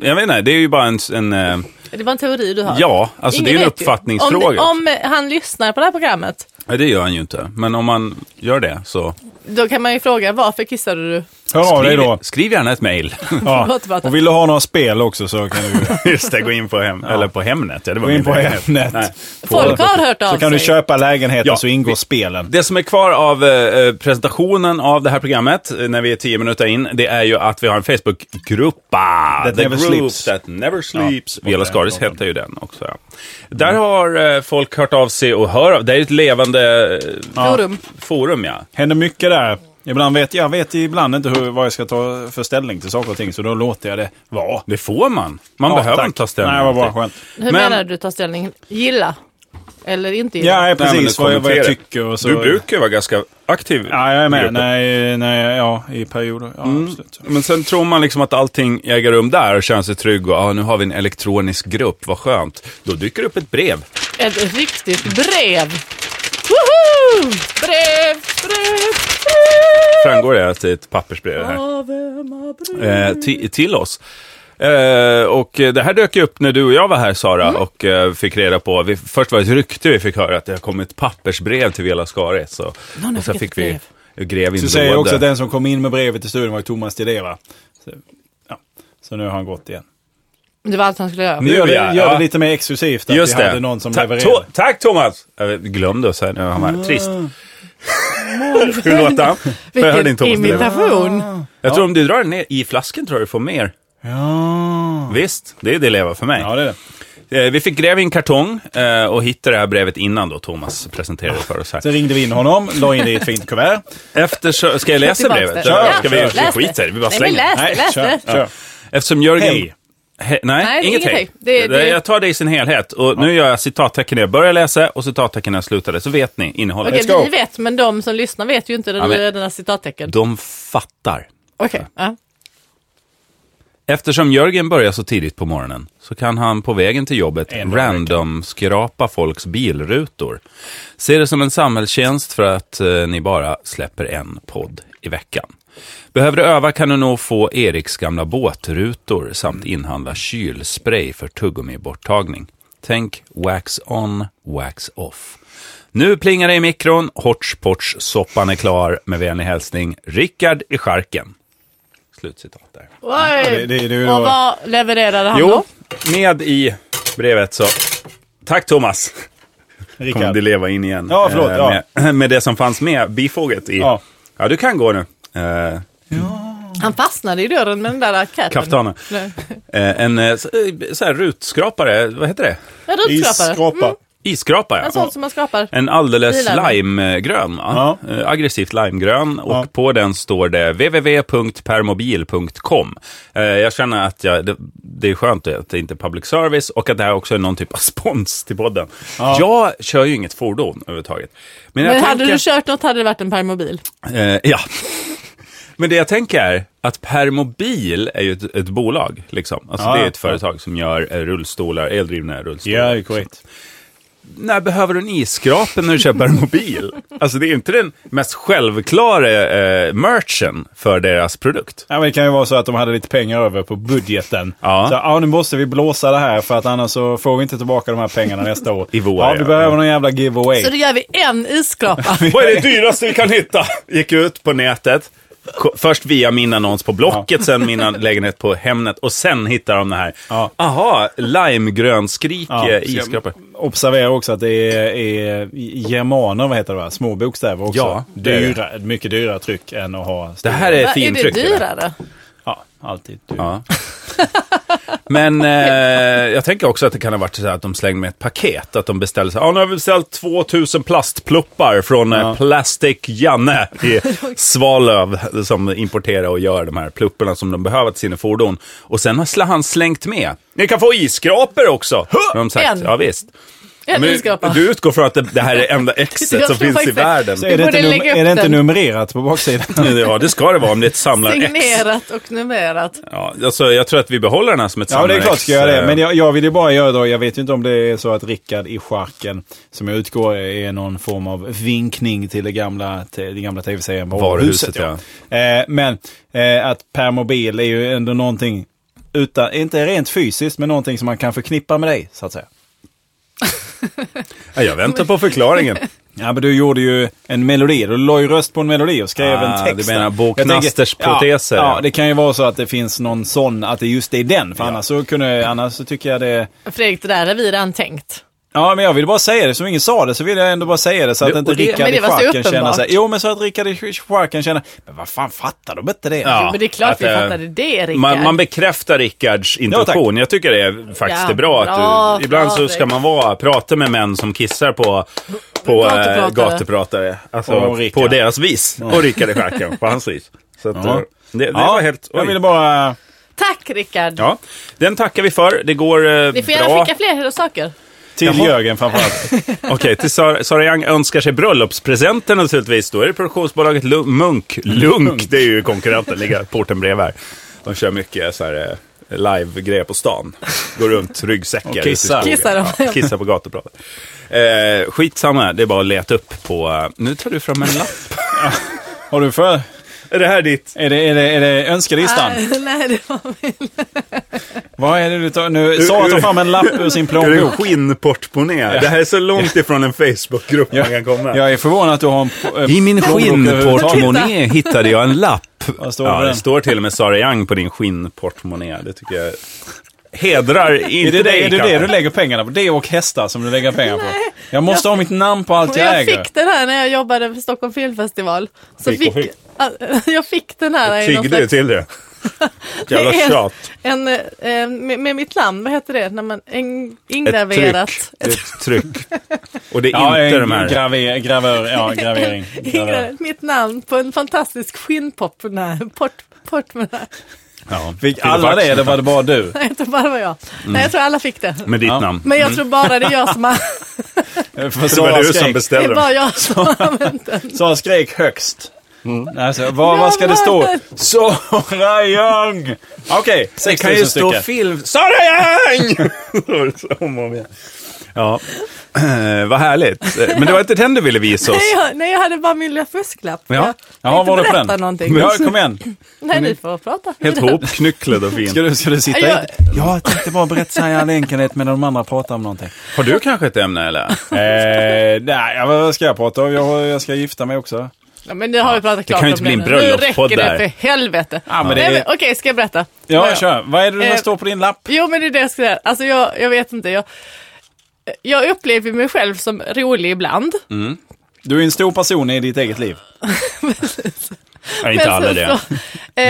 Speaker 4: jag vet inte, det är ju bara en... en eh,
Speaker 2: Det var en teori du har.
Speaker 4: ja, alltså
Speaker 2: Ingen
Speaker 4: det är en
Speaker 2: vet ju.
Speaker 4: uppfattningsfråga.
Speaker 2: Om, det, om han lyssnar på det här programmet,
Speaker 4: Nej, det gör han ju inte. Men om man gör det så...
Speaker 2: då kan man ju fråga varför kissade du?
Speaker 1: Hör av dig
Speaker 4: skriv,
Speaker 1: då.
Speaker 4: skriv gärna ett mejl.
Speaker 1: Ja.
Speaker 2: Förlåt, Martin.
Speaker 1: Och vill du ha några spel också så kan du
Speaker 4: Just det, gå in på, hem, eller på Hemnet. Ja, det var
Speaker 1: gå in
Speaker 4: min
Speaker 1: på
Speaker 4: idé.
Speaker 1: Hemnet.
Speaker 4: Nej.
Speaker 2: Folk har hört av
Speaker 1: Så kan du
Speaker 2: sig.
Speaker 1: köpa lägenheter
Speaker 4: Ja.
Speaker 1: så ingår spelen.
Speaker 4: Det som är kvar av eh, presentationen av det här programmet, eh, när vi är tio minuter in, det är ju att vi har en Facebookgrupp. ah,
Speaker 1: That
Speaker 4: The
Speaker 1: never
Speaker 4: group
Speaker 1: sleeps.
Speaker 4: That never sleeps.
Speaker 1: Ja,
Speaker 4: Viola
Speaker 1: det är
Speaker 4: Skaris
Speaker 1: klart.
Speaker 4: heter ju den också. Ja. Där har eh, folk hört av sig och hör av. Det är ju ett levande eh,
Speaker 2: Forum.
Speaker 4: forum, ja.
Speaker 1: Händer mycket där. Ibland vet, jag vet ibland inte hur, vad jag ska ta för ställning till saker och ting, så då låter jag det vara.
Speaker 4: Det får man. Man
Speaker 1: Ja,
Speaker 4: behöver
Speaker 1: tack.
Speaker 4: inte ta ställning.
Speaker 1: Nej, vad bra, skönt.
Speaker 2: Hur
Speaker 4: Men-
Speaker 2: menar du ta ställning? Gilla? Eller inte gilla?
Speaker 1: Ja,
Speaker 4: Nej, men
Speaker 1: precis.
Speaker 4: du
Speaker 1: vad, jag, vad jag
Speaker 4: kommenterar.
Speaker 1: tycker och så.
Speaker 4: Du brukar ju vara ganska aktiv.
Speaker 1: Ja, jag är
Speaker 4: i
Speaker 1: med.
Speaker 4: gruppen.
Speaker 1: Nej, nej, ja, i perioder. Ja, absolut.
Speaker 4: Men sen tror man liksom att allting äger rum där och känner sig trygg och ah, nu har vi en elektronisk grupp, vad skönt. Då dyker det upp ett brev.
Speaker 2: Ett riktigt brev! Woho! Brev, brev, brev!
Speaker 4: Framgår det att det är ett pappersbrev här?
Speaker 2: Ave Maria.
Speaker 4: Eh, ti- till oss. Eh, och eh, det här dök ju upp när du och jag var här Sara
Speaker 2: Mm.
Speaker 4: och eh, fick reda på, vi, först var det ett rykte vi fick höra att det har kommit ett pappersbrev till Viola Skaris. Så,
Speaker 2: har
Speaker 4: och sen
Speaker 2: skickat
Speaker 4: fick
Speaker 2: ett
Speaker 4: vi
Speaker 2: brev.
Speaker 4: grev
Speaker 1: Så säger jag också att
Speaker 4: inlådande.
Speaker 1: den som kom in med brevet till studion var ju Thomas Di Deva. Så, ja. så nu har han gått igen.
Speaker 2: Det var allt han skulle göra.
Speaker 1: Nu gör, vi,
Speaker 4: ja,
Speaker 1: gör
Speaker 4: ja.
Speaker 1: det lite mer exklusivt att
Speaker 4: Just
Speaker 1: vi
Speaker 4: det.
Speaker 1: hade någon som
Speaker 4: Ta-
Speaker 1: levererade.
Speaker 4: To- tack Thomas! Jag glömde att säga nu, han var trist. Hur låter han? För jag hörde inte
Speaker 2: Vilken
Speaker 4: Thomas Ah. leverera.
Speaker 2: imitation!
Speaker 4: Jag tror om du drar den ner i flaskan tror jag du får mer.
Speaker 1: Ja.
Speaker 4: Visst, det är det leva för mig.
Speaker 1: ja, det är det.
Speaker 4: Eh, Vi fick gräva i en kartong eh, och hitta det här brevet innan då Thomas presenterade det för oss
Speaker 1: Sen
Speaker 4: här.
Speaker 1: ringde vi in honom, la in det i ett fint kuvert.
Speaker 4: Efter så, ska jag läsa
Speaker 2: Tillbaks
Speaker 4: brevet?
Speaker 2: där.
Speaker 1: Ja,
Speaker 4: Eller ska vi,
Speaker 1: kör.
Speaker 2: Läs
Speaker 4: vi
Speaker 2: det.
Speaker 4: skiter i det, vi bara
Speaker 2: Nej, men
Speaker 4: slänger det.
Speaker 2: läs det, läs det.
Speaker 1: kör, kör.
Speaker 4: Eftersom Jörgen...
Speaker 1: Hej.
Speaker 4: He,
Speaker 2: Nej,
Speaker 4: nej,
Speaker 2: det är
Speaker 4: inget
Speaker 2: inget
Speaker 4: hej.
Speaker 2: hej. Det- det-
Speaker 4: Jag tar det i sin helhet. Och Nu gör jag citattecken när jag börjar läsa och citattecken när jag slutade, så vet ni innehållet.
Speaker 2: Okej,
Speaker 1: Let's go.
Speaker 2: vi vet, men de som lyssnar vet ju inte den,
Speaker 4: Ja, men-
Speaker 2: den här citattecken.
Speaker 4: De fattar.
Speaker 2: Okej. Ja.
Speaker 4: Eftersom Jörgen börjar så tidigt på morgonen så kan han på vägen till jobbet
Speaker 1: En dag i
Speaker 4: random-skrapa folks bilrutor. Se det som en samhällstjänst för att eh, ni bara släpper en podd i veckan. Behöver du öva kan du nog få Eriks gamla båtrutor samt inhandla kylspray för tuggummi-borttagning. Tänk wax on, wax off. Nu plingar det i mikron, Hotch Potch, soppan är klar. Med vänlig hälsning, Rickard i skärken. Slutcitat där.
Speaker 1: det-
Speaker 2: Oj!
Speaker 1: det- det-
Speaker 2: och vad levererade han
Speaker 4: Jo,
Speaker 2: då?
Speaker 4: med i brevet så... Tack Thomas! Kommer det
Speaker 1: Rickard.
Speaker 4: leva in igen.
Speaker 1: Ja, förlåt,
Speaker 4: Eh,
Speaker 1: ja.
Speaker 4: Med, med det som fanns med, bifoget i... Ja,
Speaker 1: Ja.
Speaker 4: du kan gå nu. Eh,
Speaker 2: Han fastnade i dörren med den där capen.
Speaker 4: kaftanen.
Speaker 2: Nej.
Speaker 4: Eh, en eh, så, eh, så här rutskrapare, vad heter det?
Speaker 2: Ja, rutskrapare.
Speaker 1: Isskrapa.
Speaker 4: Isskrapa,
Speaker 2: En
Speaker 4: ja.
Speaker 2: sån som man skrapar.
Speaker 4: En alldeles
Speaker 2: Bilar.
Speaker 4: limegrön, va? Eh, aggressivt limegrön. Och
Speaker 1: Ja.
Speaker 4: på den står det www.permobil.com. Eh, jag känner att jag, det, det är skönt att det inte är public service och att det här också är någon typ av spons till podden. Jag kör ju inget fordon överhuvudtaget. Men, jag
Speaker 2: Men hade
Speaker 4: tänker-
Speaker 2: du kört något hade det varit en permobil.
Speaker 4: Eh, ja. Men det jag tänker är att Permobil är ju ett, ett bolag. Liksom. Alltså,
Speaker 1: Ja,
Speaker 4: det är
Speaker 1: ja.
Speaker 4: ett företag som gör eh, rullstolar, eldrivna rullstolar.
Speaker 1: Ja, korrekt.
Speaker 4: När behöver du en isskrapen när du köper en mobil? Alltså det är ju inte den mest självklara eh, merchen för deras produkt.
Speaker 1: Ja, men det kan ju vara så att de hade lite pengar över på budgeten.
Speaker 4: Ja.
Speaker 1: Så, ja, nu måste vi blåsa det här för att annars så får vi inte tillbaka de här pengarna nästa år.
Speaker 4: I vår,
Speaker 1: ja, vi
Speaker 4: ja. Mm.
Speaker 1: behöver någon jävla giveaway.
Speaker 2: Så då gör vi en isskrapa.
Speaker 4: Vad är det dyraste vi kan hitta? Gick ut på nätet. ko- Först via min annons på Blocket, sen min an- lägenhet på Hemnet och sen hittar de det här.
Speaker 1: Ja.
Speaker 4: Aha, limegrönskrik
Speaker 1: Ja,
Speaker 4: eh,
Speaker 1: så jag-
Speaker 4: isskrapa.
Speaker 1: Observera också att det är, är germaner, vad heter det, va? små bokstäver också.
Speaker 4: Ja, det är det.
Speaker 1: dyra, mycket dyrare tryck än att ha...
Speaker 4: Det
Speaker 1: stora.
Speaker 4: här är
Speaker 2: Va, är det
Speaker 4: fintryck. det där.
Speaker 2: dyrare?
Speaker 1: Ja, alltid. dyrt.
Speaker 4: Ja. Men eh, jag tänker också att det kan ha varit så här att de slängde med ett paket. Att de beställde så här, "Ja, nu har vi beställt 2000 plastpluppar från eh, Plastic Janne i Svalöv. Som importerar och gör de här plupparna som de behöver till sina fordon. Och sen har sl- han slängt med, ni kan få isskrapor också. Har de sagt,
Speaker 2: En.
Speaker 4: ja visst.
Speaker 2: Ja,
Speaker 4: Men
Speaker 2: Älgskrapa.
Speaker 4: du utgår från att det, det här är enda exet
Speaker 2: Jag
Speaker 4: som
Speaker 2: tror
Speaker 4: finns i
Speaker 2: faktiskt-
Speaker 4: världen.
Speaker 1: Så är det,
Speaker 2: borde
Speaker 1: inte, num-
Speaker 2: lägga upp
Speaker 1: är det inte
Speaker 2: den.
Speaker 1: numrerat på baksidan?
Speaker 4: Ja, det ska det vara om det är ett samlarex.
Speaker 2: Signerat och numrerat.
Speaker 4: Ja, alltså, jag tror att vi behåller den här som ett
Speaker 1: Ja, det är
Speaker 4: samlarex.
Speaker 1: klart ska jag
Speaker 4: eh,
Speaker 1: det. Men jag, jag vill ju bara göra då, jag vet ju inte om det är så att Rickard i charken, som jag utgår är någon form av vinkning till det gamla, till det gamla tv-serien
Speaker 4: Varuhuset,
Speaker 1: Varuhuset. Ja. Eh, men eh, att permobil är ju ändå någonting, utan, inte rent fysiskt, men någonting som man kan förknippa med dig, så att säga.
Speaker 4: Ja, jag väntar på förklaringen.
Speaker 1: Ja, men du gjorde ju en melodi. Du la ju röst på en melodi och skrev
Speaker 4: Ah,
Speaker 1: en text.
Speaker 4: du menar
Speaker 1: där.
Speaker 4: Bo
Speaker 1: Jag tänker-
Speaker 4: Knasters proteser,
Speaker 1: Ja,
Speaker 4: ja.
Speaker 1: ja, det kan ju vara så att det finns någon sån, att det just är den. För annars så kunde, annars så tycker jag det...
Speaker 2: Fredrik, det där är vi redan tänkt.
Speaker 1: Ja, men jag vill bara säga det. Som ingen sa det så vill jag ändå bara säga det så att
Speaker 4: Det-
Speaker 1: inte
Speaker 4: och det-
Speaker 1: Rickard
Speaker 2: men det
Speaker 1: i
Speaker 2: var så
Speaker 1: charken känner sig...
Speaker 2: uppenbart.
Speaker 1: Jo, men så att Rickard i charken känner... Men vad fan, fattar de inte det?
Speaker 4: Ja,
Speaker 2: Jo, men det är klart
Speaker 4: att,
Speaker 2: vi
Speaker 4: eh,
Speaker 2: fattade det, Rickard.
Speaker 4: Man, man bekräftar Rickards intention. jag tycker det är faktiskt
Speaker 2: Ja,
Speaker 4: är bra. Att
Speaker 2: bra,
Speaker 4: du, ibland så
Speaker 2: Fredrik.
Speaker 4: ska man vara, prata med män som kissar på, på
Speaker 2: Gatupratare.
Speaker 4: gatupratare. gatupratare.
Speaker 1: Och
Speaker 4: Alltså,
Speaker 1: Rickard.
Speaker 4: på deras vis. Och Rickard i stjärken, på hans vis. Så att,
Speaker 1: Ja.
Speaker 4: eh, det, det
Speaker 1: Ja,
Speaker 4: var helt...
Speaker 1: jag
Speaker 4: oj.
Speaker 1: ville bara...
Speaker 2: Tack, Rickard.
Speaker 4: Ja, den tackar vi för. Det går eh,
Speaker 2: Ni får
Speaker 4: bra.
Speaker 2: gärna skicka fler saker.
Speaker 1: Till
Speaker 4: Jaha.
Speaker 1: Jörgen framförallt.
Speaker 4: Okej, till Sara, Sara Young önskar sig bröllopspresenter naturligtvis. Då är det produktionsbolaget Lu- Munk. Lunk, det är ju konkurrenten, ligger porten bredvid här. De kör mycket så här eh, live-grejer på stan. Går runt, ryggsäckar.
Speaker 1: Och kissar.
Speaker 4: ute i skogen.
Speaker 2: Kissar de.
Speaker 4: Ja, kissar på gatupratet. Eh, skitsamma, det är bara att leta upp på... eh, Nu tar du fram en lapp.
Speaker 1: Har du för...
Speaker 4: är det här ditt?
Speaker 1: Är det, är det, är det önskelistan?
Speaker 2: Ah, nej, det var min.
Speaker 1: Vad är det du tar nu? Sara tar fram en lapp ur sin
Speaker 4: Är det
Speaker 1: plånbok.
Speaker 4: en skinnportmonnä? Det här är så långt ifrån en Facebookgrupp man kan komma.
Speaker 1: Jag är förvånad att du har en po- eh,
Speaker 4: I min
Speaker 1: plånbok överhuvudtaget.
Speaker 4: skinnportmonnaie hittade jag en lapp.
Speaker 1: Vad står det
Speaker 4: ja,
Speaker 1: på
Speaker 4: det
Speaker 1: den?
Speaker 4: står till och med Sara Young på din skinnportmonnaie. Det tycker jag hedrar
Speaker 1: Är
Speaker 4: inte
Speaker 1: det
Speaker 4: dig.
Speaker 1: det, är det, det
Speaker 4: kanske.
Speaker 1: du lägger pengarna på? Det och hästar som du lägger pengar på? Jag måste ha mitt namn på allt
Speaker 2: Och
Speaker 1: jag
Speaker 2: jag
Speaker 1: äger.
Speaker 2: fick den här när jag jobbade för Stockholm filmfestival. Så
Speaker 4: Fick och fick.
Speaker 2: Ah, Jag fick den här. i någon
Speaker 4: Tiggde du
Speaker 2: slags-
Speaker 4: till det? Jävla
Speaker 2: Det är-
Speaker 4: tjat.
Speaker 2: En, eh, med, med mitt namn, vad heter det? När man, en, ingraverat.
Speaker 4: Det är ett tryck. Och det är
Speaker 1: Ja,
Speaker 4: inte
Speaker 1: en
Speaker 4: de här.
Speaker 1: graver, gravör, ja, gravering. Gravör.
Speaker 2: Ingra- Mitt namn på en fantastisk skinnportmonnä. Port, portmonnä.
Speaker 4: Ja,
Speaker 1: Fick alla det eller var det bara du?
Speaker 2: Nej, jag tror bara det var jag. Nej, jag tror alla fick det.
Speaker 4: Med ditt
Speaker 1: Ja.
Speaker 4: namn.
Speaker 2: Men jag tror bara det är jag som har,
Speaker 1: För
Speaker 4: Det var
Speaker 1: Sara
Speaker 4: du som
Speaker 1: skrek,
Speaker 2: det är
Speaker 4: beställde dem.
Speaker 2: bara jag som har använt den.
Speaker 1: Sara skrek högst. Alltså, vad, vad ska det stå? Sara Young! Okej,
Speaker 4: Det
Speaker 1: 6
Speaker 4: kan
Speaker 1: 000
Speaker 4: ju stå
Speaker 1: stycken.
Speaker 4: film... Sara Young! Då är det så om och om igen. Ja, eh, vad härligt. Eh, Men det var inte den du ville visa oss.
Speaker 2: Nej jag, nej, jag hade bara min lilla fusklapp.
Speaker 4: Ja.
Speaker 2: Jag
Speaker 1: Jaha,
Speaker 2: tänkte
Speaker 1: var det på
Speaker 2: berätta
Speaker 1: den?
Speaker 2: någonting.
Speaker 1: Ja, kom igen.
Speaker 2: Nej, ni får prata.
Speaker 4: Helt hopknycklad och fin.
Speaker 1: Ska du, ska du sitta
Speaker 2: Jag-
Speaker 1: i? Jag tänkte bara berätta så här i all enkelhet medan de andra pratar om någonting.
Speaker 4: Har du kanske ett ämne eller?
Speaker 1: Eh, nej, ja, vad ska jag prata om? Jag, jag ska gifta mig också.
Speaker 2: Ja, men nu har vi pratat klart
Speaker 4: kan ju
Speaker 2: om
Speaker 4: inte bli
Speaker 2: det
Speaker 4: en
Speaker 2: nu. Nu
Speaker 4: bröllopspodd
Speaker 2: räcker det
Speaker 4: där.
Speaker 2: för helvete.
Speaker 1: Ja, men det
Speaker 2: Nej,
Speaker 1: är-
Speaker 2: men, Okej, ska jag berätta?
Speaker 1: Ja, kör. Vad är det som
Speaker 2: Eh,
Speaker 1: står på din lapp?
Speaker 2: Jo, men det är det jag ska säga. Alltså, jag, jag vet inte. Jag, jag upplever mig själv som rolig ibland.
Speaker 4: Mm.
Speaker 1: Du är en stor person i ditt eget liv.
Speaker 4: Nej, inte alla
Speaker 2: sen
Speaker 4: det.
Speaker 2: så- eh,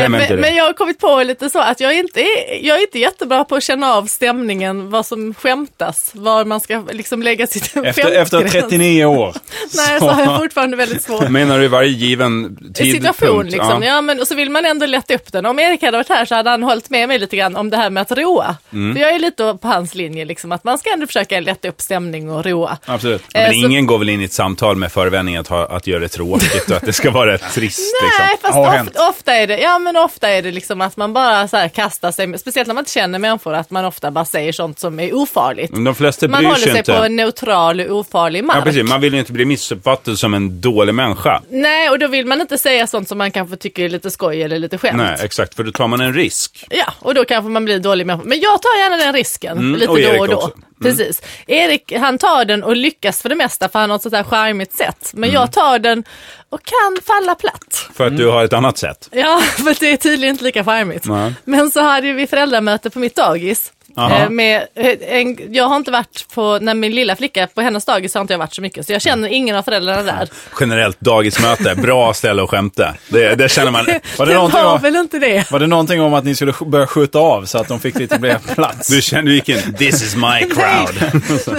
Speaker 4: Vem är inte
Speaker 2: men,
Speaker 4: det?
Speaker 2: men jag har kommit på lite så att jag inte är, jag är inte jättebra på att känna av stämningen, vad som skämtas, var man ska liksom lägga sitt
Speaker 1: Efter,
Speaker 2: skämtgräns.
Speaker 1: efter 39 år.
Speaker 2: Nej, så har jag fortfarande väldigt svårt.
Speaker 4: Menar du i varje given tidpunkt?
Speaker 2: situation liksom. Ja.
Speaker 4: Ja.
Speaker 2: men och så vill man ändå lätta upp den. Om Erik hade varit här så hade han hållit med mig lite grann om det här med att roa.
Speaker 4: Mm.
Speaker 2: För jag är lite på hans linje liksom, att man ska ändå försöka lätta upp stämning och roa.
Speaker 1: Absolut.
Speaker 4: Men
Speaker 2: Eh, så-
Speaker 4: ingen går väl in i ett samtal med förevändningen att, ha, att göra det tråkigt och att det ska vara rätt trist.
Speaker 2: Nej,
Speaker 4: Liksom.
Speaker 2: fast
Speaker 1: Har
Speaker 2: of,
Speaker 1: hänt.
Speaker 2: ofta är det, ja men ofta är det liksom att man bara så här kastar sig, speciellt när man inte känner människor, att man ofta bara säger sånt som är ofarligt.
Speaker 4: Men De flesta
Speaker 2: Man
Speaker 4: bryr
Speaker 2: håller
Speaker 4: sig
Speaker 2: sig
Speaker 4: inte.
Speaker 2: på en neutral och ofarlig mark.
Speaker 4: Ja, precis. Man vill ju inte bli missuppfattad som en dålig människa.
Speaker 2: Nej, och då vill man inte säga sånt som man kanske tycker är lite skoj eller lite skämt.
Speaker 4: Nej, exakt. För då tar man en risk.
Speaker 2: Ja, och då kanske man blir en dålig människa. Men jag tar gärna den risken lite
Speaker 4: Mm, och Erik
Speaker 2: då och då.
Speaker 4: också.
Speaker 2: Precis. Erik han tar den och lyckas för det mesta för han har ett sånt här charmigt sätt. Men
Speaker 4: Mm.
Speaker 2: jag tar den och kan falla platt.
Speaker 4: För att du har ett annat sätt.
Speaker 2: Ja, för det är tydligen inte lika charmigt.
Speaker 4: Nej.
Speaker 2: Men så hade ju vi föräldramöte på mitt dagis.
Speaker 4: Aha.
Speaker 2: Eh, Med eh, en, jag har inte varit på, när min lilla flicka, på hennes dagis har inte jag varit så mycket. Så jag känner ingen av föräldrarna där.
Speaker 4: Generellt dagismöte, bra ställe att skämta. Det, det känner man.
Speaker 1: Var det någonting
Speaker 2: var
Speaker 1: om-
Speaker 2: väl inte det.
Speaker 1: Var det någonting om att ni skulle sk- börja skjuta av så att de fick lite mer plats?
Speaker 4: Du känner, du gick in, this is my crowd.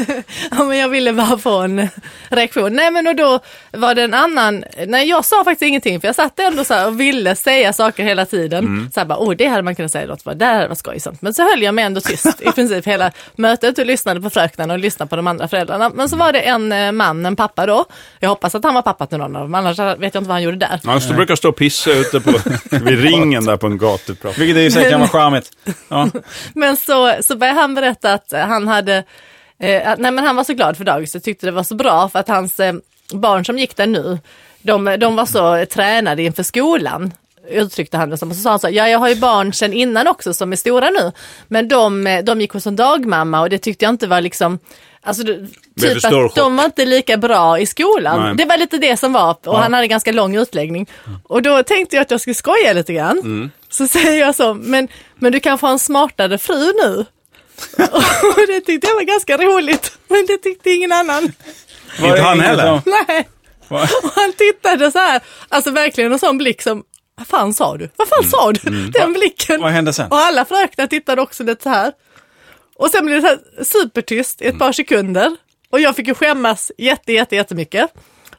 Speaker 2: Ja, men jag ville bara få en reaktion. Nej men och då var det en annan, nej jag sa faktiskt ingenting för jag satt ändå så här och ville säga saker hela tiden. Så här bara, oh det hade man kunnat säga något, för, det här var skojsamt. Men så höll jag mig ändå tyst. tyst i princip hela mötet och lyssnade på fröknarna och lyssnade på de andra föräldrarna. Men så var det en eh, man, en pappa då. Jag hoppas att han var pappa till någon av dem, annars vet jag inte vad han gjorde där.
Speaker 4: Han stod, brukar stå och pissa ute på, vid ringen där på en gatuprat.
Speaker 1: Vilket i och för sig kan vara charmigt. Ja.
Speaker 2: Men så, så började han berätta att eh, han hade, eh, att, nej men han var så glad för dagis och tyckte det var så bra för att hans eh, barn som gick där nu, de, de var så eh, tränade inför skolan uttryckte han det som. Och så sa han så här, ja jag har ju barn sen innan också som är stora nu. Men de, eh, de gick hos en dagmamma och det tyckte jag inte var liksom, alltså det-
Speaker 4: för
Speaker 2: typ
Speaker 4: stor
Speaker 2: att
Speaker 4: chock.
Speaker 2: de var inte lika bra i skolan.
Speaker 4: Nej.
Speaker 2: Det var lite det som var, och han hade ganska lång utläggning. Och då tänkte jag att jag skulle skoja lite grann. Så säger jag så, men, men du kanske har en smartare fru nu? och det tyckte jag var ganska roligt, men det tyckte ingen annan.
Speaker 4: Inte han heller.
Speaker 2: Nej.
Speaker 1: Va?
Speaker 2: Och han tittade så här, alltså verkligen en sån blick som, vad fan sa du? Vad fan sa du? Den blicken.
Speaker 1: Vad hände sen?
Speaker 2: Och alla fröknar tittade också lite så här. Och sen blev det så här supertyst i ett par sekunder. Och jag fick ju skämmas jätte, jätte, jättemycket.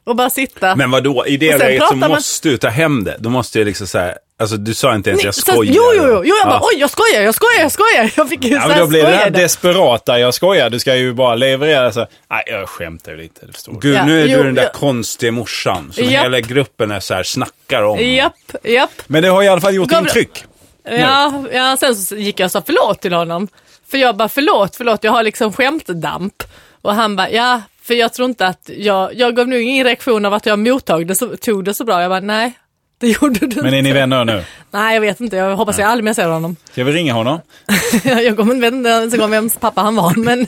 Speaker 2: Och bara sitta.
Speaker 4: Men vadå, i det
Speaker 2: Och sen
Speaker 4: läget så
Speaker 2: pratar man-
Speaker 4: måste du ta hem det. Då måste du liksom säga, alltså du sa inte ens
Speaker 2: Nej,
Speaker 4: jag
Speaker 2: så-
Speaker 4: skojar.
Speaker 2: Jo, jo, jo, jo, jag bara
Speaker 4: Ja.
Speaker 2: oj, jag skojar, jag skojar, jag skojar. Jag fick ju
Speaker 1: Ja,
Speaker 2: så
Speaker 1: men
Speaker 2: här
Speaker 1: då blir det
Speaker 2: skoja
Speaker 1: här
Speaker 2: där.
Speaker 1: desperata, jag skojar, du ska ju bara leverera så. här. Nej, jag skämtar ju lite, det förstår du.
Speaker 4: Gud,
Speaker 2: Ja,
Speaker 4: nu är
Speaker 2: jo,
Speaker 4: du den där
Speaker 2: ja.
Speaker 4: konstiga morsan som
Speaker 2: Japp.
Speaker 4: hela gruppen är så här snackar om.
Speaker 2: Japp, japp.
Speaker 1: Men det har i alla fall gjort
Speaker 2: Gabriel-
Speaker 1: intryck.
Speaker 2: Ja, ja, sen så gick jag och sa förlåt till honom. För jag bara förlåt, förlåt, jag har liksom skämtdamp. Och han bara ja, för jag tror inte att jag, jag gav nu ingen reaktion av att jag mottog det så, tog det så bra. Jag bara nej, det gjorde du inte.
Speaker 1: Men är ni vänner nu?
Speaker 2: Nej, jag vet inte, jag hoppas jag aldrig mer ser honom.
Speaker 1: Ska vi ringa honom?
Speaker 2: jag kommer inte vet inte ens en gång vems pappa han var, men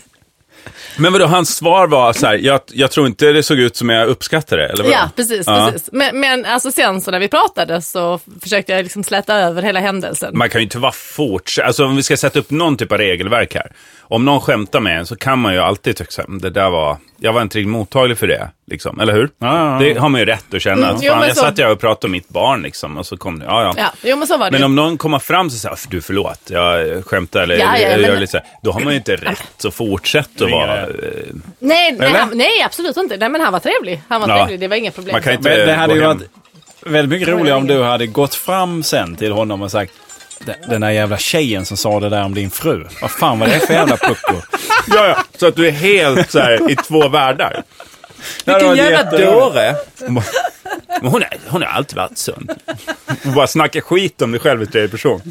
Speaker 4: Men vadå, hans svar var så här, jag, jag tror inte det såg ut som jag uppskattade det, eller vadå?
Speaker 2: Ja, precis.
Speaker 4: Ja.
Speaker 2: precis. Men, men alltså sen så när vi pratade så försökte jag liksom släta över hela händelsen.
Speaker 4: Man kan ju inte vara fort, alltså om vi ska sätta upp någon typ av regelverk här. Om någon skämtar med en så kan man ju alltid tycka, det där var, jag var inte riktigt mottaglig för det, liksom, eller hur?
Speaker 1: Ja, ja, ja.
Speaker 4: Det har man ju rätt att känna.
Speaker 2: Mm, jo,
Speaker 4: Fan,
Speaker 2: men
Speaker 4: jag
Speaker 2: så-
Speaker 4: satt jag och pratade om mitt barn liksom, och så kom det, ja ja.
Speaker 2: Ja, jo men så var det.
Speaker 4: Men om någon kommer fram och säger, du förlåt, jag skämtar eller
Speaker 2: Ja, ja,
Speaker 4: jag, gör
Speaker 2: men-
Speaker 4: lite så här. Då har man ju inte rätt att fortsätta att
Speaker 1: Ringa
Speaker 4: vara...
Speaker 2: nej, nej,
Speaker 4: Eller?
Speaker 2: han, nej, absolut inte. Nej, men han var trevlig. Han var
Speaker 4: Ja.
Speaker 2: trevlig, det var inga problem.
Speaker 4: Man kan inte-
Speaker 1: Men det
Speaker 4: Eh,
Speaker 1: hade
Speaker 4: gå
Speaker 1: ju
Speaker 4: hem.
Speaker 1: varit väldigt mycket roligare om du hade gått fram sen till honom och sagt "Den- den där jävla tjejen som sa det där om din fru. Vad fan var det för jävla pucko?
Speaker 4: Ja, ja. Så att du är helt så här, i två världar.
Speaker 1: Det hade varit jätteroligt.
Speaker 4: Men Hon, är, hon har alltid varit sån. Hon bara snackar skit om dig själv i tredje person.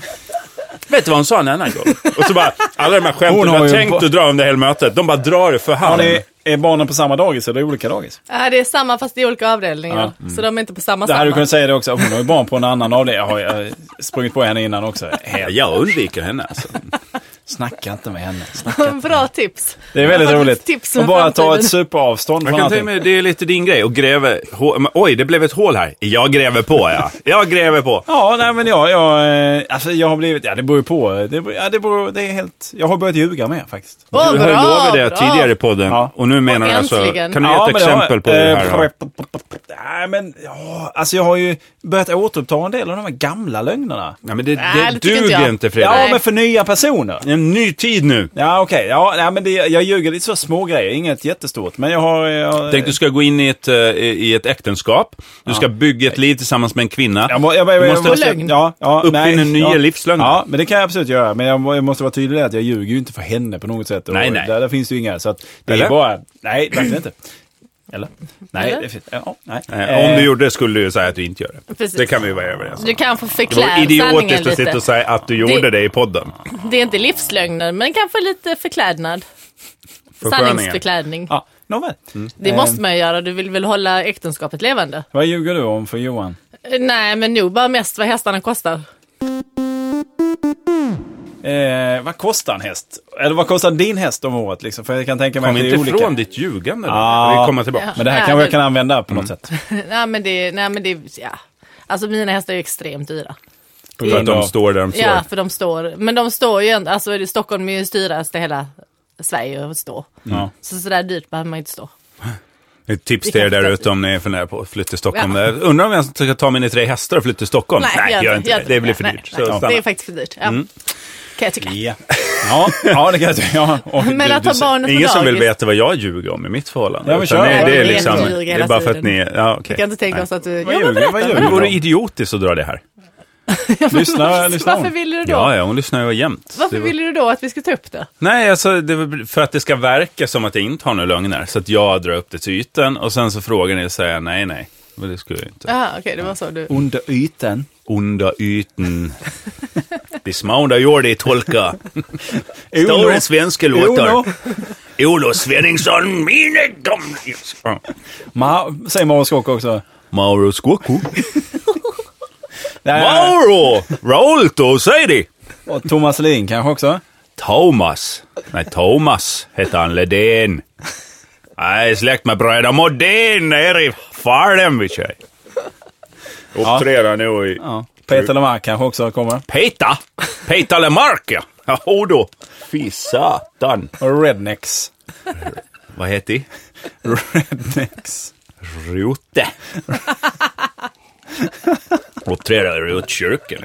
Speaker 4: Vet du vad hon sa en annan gång? Och så bara, alla de här skämten
Speaker 1: Hon
Speaker 4: du
Speaker 1: har
Speaker 4: har
Speaker 1: ju
Speaker 4: tänkt
Speaker 1: på-
Speaker 4: att dra under hela mötet, de bara drar det för
Speaker 1: Har
Speaker 4: hand.
Speaker 1: ni, är barnen på samma dagis eller olika dagis?
Speaker 2: Ja, det är samma fast i olika avdelningar.
Speaker 1: Ja,
Speaker 4: Mm.
Speaker 2: Så de är inte på samma
Speaker 1: Det hade du
Speaker 2: samma.
Speaker 1: kunnat säga det också. Hon har ju barn på en annan avdelning. Jag har jag har sprungit på henne innan också.
Speaker 4: Ja,
Speaker 1: Helt.
Speaker 4: Jag undviker henne alltså.
Speaker 1: Snacka inte med henne. Snack-
Speaker 2: Bra tips.
Speaker 1: Det är väldigt
Speaker 2: Jag har
Speaker 1: roligt.
Speaker 2: tips
Speaker 1: Och
Speaker 2: för
Speaker 1: bara ta
Speaker 2: framtiden.
Speaker 1: ett superavstånd
Speaker 4: Jag
Speaker 1: från
Speaker 4: kan tänka
Speaker 1: allting.
Speaker 4: mig, det är lite din grej, och gräva... hå- men Oj, det blev ett hål här. Jag gräver på, ja. Jag gräver på.
Speaker 1: Ja, nej men jag, jag, eh, alltså jag har blivit, ja det beror ju på. Det, beror- ja, det, beror, det är helt, jag har börjat ljuga med faktiskt.
Speaker 2: Åh,
Speaker 4: Du
Speaker 2: bra,
Speaker 4: höll över det
Speaker 2: bra.
Speaker 4: tidigare i podden
Speaker 1: Ja.
Speaker 4: och nu menar du alltså...
Speaker 2: Äntligen.
Speaker 4: Kan du ge ett
Speaker 1: men det har-
Speaker 4: exempel på det
Speaker 1: eh,
Speaker 4: här? då?
Speaker 1: Nej, men ja, alltså jag har ju börjat återuppta en del av de här gamla lögnerna.
Speaker 4: Nej, men det,
Speaker 2: Nej,
Speaker 4: det,
Speaker 2: det tycker inte
Speaker 4: duger
Speaker 2: jag.
Speaker 4: inte
Speaker 1: Ja,
Speaker 4: Fredrik.
Speaker 2: Nej.
Speaker 1: men för nya personer.
Speaker 4: En ny tid nu.
Speaker 1: Ja, okej. Ja, nej, men det, jag ljuger lite så små grejer, inget jättestort. Men jag har... Jag,
Speaker 4: Tänk du ska gå in i ett, eh, i ett äktenskap. Du ska bygga ett liv tillsammans med en kvinna.
Speaker 1: jag, må- jag, jag,
Speaker 4: Du
Speaker 1: jag
Speaker 4: måste-
Speaker 2: lögn.
Speaker 1: Ja, ja,
Speaker 4: Uppfinna
Speaker 1: nej,
Speaker 4: nya
Speaker 1: ja,
Speaker 4: livslögner.
Speaker 1: Ja, men det kan jag absolut göra. Men jag, må- jag måste vara tydlig med att jag ljuger ju inte för henne på något sätt. Och
Speaker 4: Nej, nej.
Speaker 1: Där, där finns det ju inga. Så att det
Speaker 4: Eller?
Speaker 1: är bara... Nej, verkligen inte. Eller? Nej,
Speaker 2: Eller?
Speaker 1: Det, fin- ja, nej.
Speaker 4: Eh, Om
Speaker 1: Eh,
Speaker 4: du gjorde det skulle du ju säga att du inte gör det.
Speaker 2: Precis.
Speaker 4: Det kan vi ju vara överens om.
Speaker 2: Du kanske
Speaker 4: Det var
Speaker 2: förklär sanningen
Speaker 4: idiotiskt att
Speaker 2: lite.
Speaker 4: sitta och säga att du gjorde det, i podden.
Speaker 2: Det är inte livslögner, men kanske lite förklädnad.
Speaker 4: Försköningar.
Speaker 2: Sanningsförklädning.
Speaker 1: Ja, nåväl.
Speaker 2: Det måste man ju göra, du vill väl hålla äktenskapet levande?
Speaker 1: Vad ljuger du om för Johan?
Speaker 2: Eh, Nej, men nog bara mest vad hästarna kostar.
Speaker 1: Eh, vad kostar en häst? Eller vad kostar din häst om året? Liksom? För jag kan tänka mig
Speaker 4: Kom
Speaker 1: att det
Speaker 4: inte
Speaker 1: är olika.
Speaker 4: ifrån ditt ljugande. nu.
Speaker 1: Ja.
Speaker 4: Vi kommer tillbaka.
Speaker 1: Men det här
Speaker 2: Ja,
Speaker 1: kanske
Speaker 2: men-
Speaker 1: jag kan använda
Speaker 4: Mm.
Speaker 1: på något sätt.
Speaker 2: Eh, nej, men det, nej, men det, ja. Alltså mina hästar är ju extremt dyra.
Speaker 1: På
Speaker 4: För att
Speaker 1: grund
Speaker 4: de
Speaker 1: av-
Speaker 4: står där de står.
Speaker 2: Ja, för de står, men de står ju ändå, alltså är det- Stockholm är ju styrast i hela Sverige att stå.
Speaker 1: Ja.
Speaker 2: Så sådär dyrt behöver man ju inte stå.
Speaker 4: Ett tips
Speaker 2: Vi
Speaker 4: till er
Speaker 2: kan
Speaker 4: där
Speaker 2: flytta
Speaker 4: ute om ni funderar på att flytta till Stockholm.
Speaker 2: Ja.
Speaker 4: Eh, Undrar om jag ska ta mina tre hästar och flytta till Stockholm? gör inte det. Det blir för
Speaker 2: Nej,
Speaker 4: dyrt.
Speaker 2: nej,
Speaker 4: Så
Speaker 2: det
Speaker 4: stanna.
Speaker 2: är faktiskt för dyrt. Ja. Kan jag tycka.
Speaker 1: Ja. Ja, ja, det kan jag tycka. Ja. Oj,
Speaker 2: Men
Speaker 1: du-
Speaker 2: att
Speaker 1: du
Speaker 2: ha
Speaker 1: ser-
Speaker 2: barnen på
Speaker 4: Ingen som vill
Speaker 2: dagis.
Speaker 4: veta vad jag ljuger om i mitt förhållande.
Speaker 1: Ja, men
Speaker 4: Utan
Speaker 1: kör.
Speaker 4: det,
Speaker 1: Ja,
Speaker 4: det,
Speaker 1: det
Speaker 4: är
Speaker 1: är
Speaker 4: liksom,
Speaker 2: helt ljug
Speaker 4: det är
Speaker 2: hela
Speaker 4: bara för att
Speaker 2: tiden.
Speaker 4: ni... Ja, okay.
Speaker 2: Vi kan inte tänka oss att du... Ja,
Speaker 1: Vad
Speaker 2: men
Speaker 1: ljuger, vad
Speaker 2: berätta.
Speaker 1: ljuger
Speaker 4: Det
Speaker 1: du
Speaker 4: vore
Speaker 1: om?
Speaker 4: idiotiskt att dra det här.
Speaker 1: Lyssna, lyssna
Speaker 2: Varför
Speaker 1: hon.
Speaker 2: ville du då?
Speaker 4: Ja, ja, hon lyssnar ju jämt.
Speaker 2: Varför
Speaker 4: Det var-
Speaker 2: ville du då att vi skulle ta upp det?
Speaker 4: Nej, alltså, det var för att det ska verka som att jag inte har några lögner. Så att jag drar upp det till ytan och sen så frågar ni och säger nej, nej. Men det skulle jag inte.
Speaker 2: Jaha, okej, det var så du...
Speaker 1: Under ytan.
Speaker 4: Onda ytan. De små onda gör det tolka. Stora svenska
Speaker 1: Uno.
Speaker 4: låtar. Olof Svenningsson, mina gamla...
Speaker 1: Ma, säger Mauro Scocco också.
Speaker 4: Mauro Scocco.
Speaker 1: Nej,
Speaker 4: Mauro! Rolto, säg det!
Speaker 1: och Thomas Ledin kanske också.
Speaker 4: Thomas. Nej, Thomas heter han Ledén. Nej, släkt med bröderna Modén nere i Falun vid sig. Uppträder nu i...
Speaker 1: Ja. Peter Lemark kanske också kommer.
Speaker 4: Peta! Peta Lemark, ja. Jaha då. Fy satan.
Speaker 1: Och Rednecks.
Speaker 4: Vad heter de?
Speaker 1: Rednecks.
Speaker 4: Rute. Uppträder i Rutkyrkan.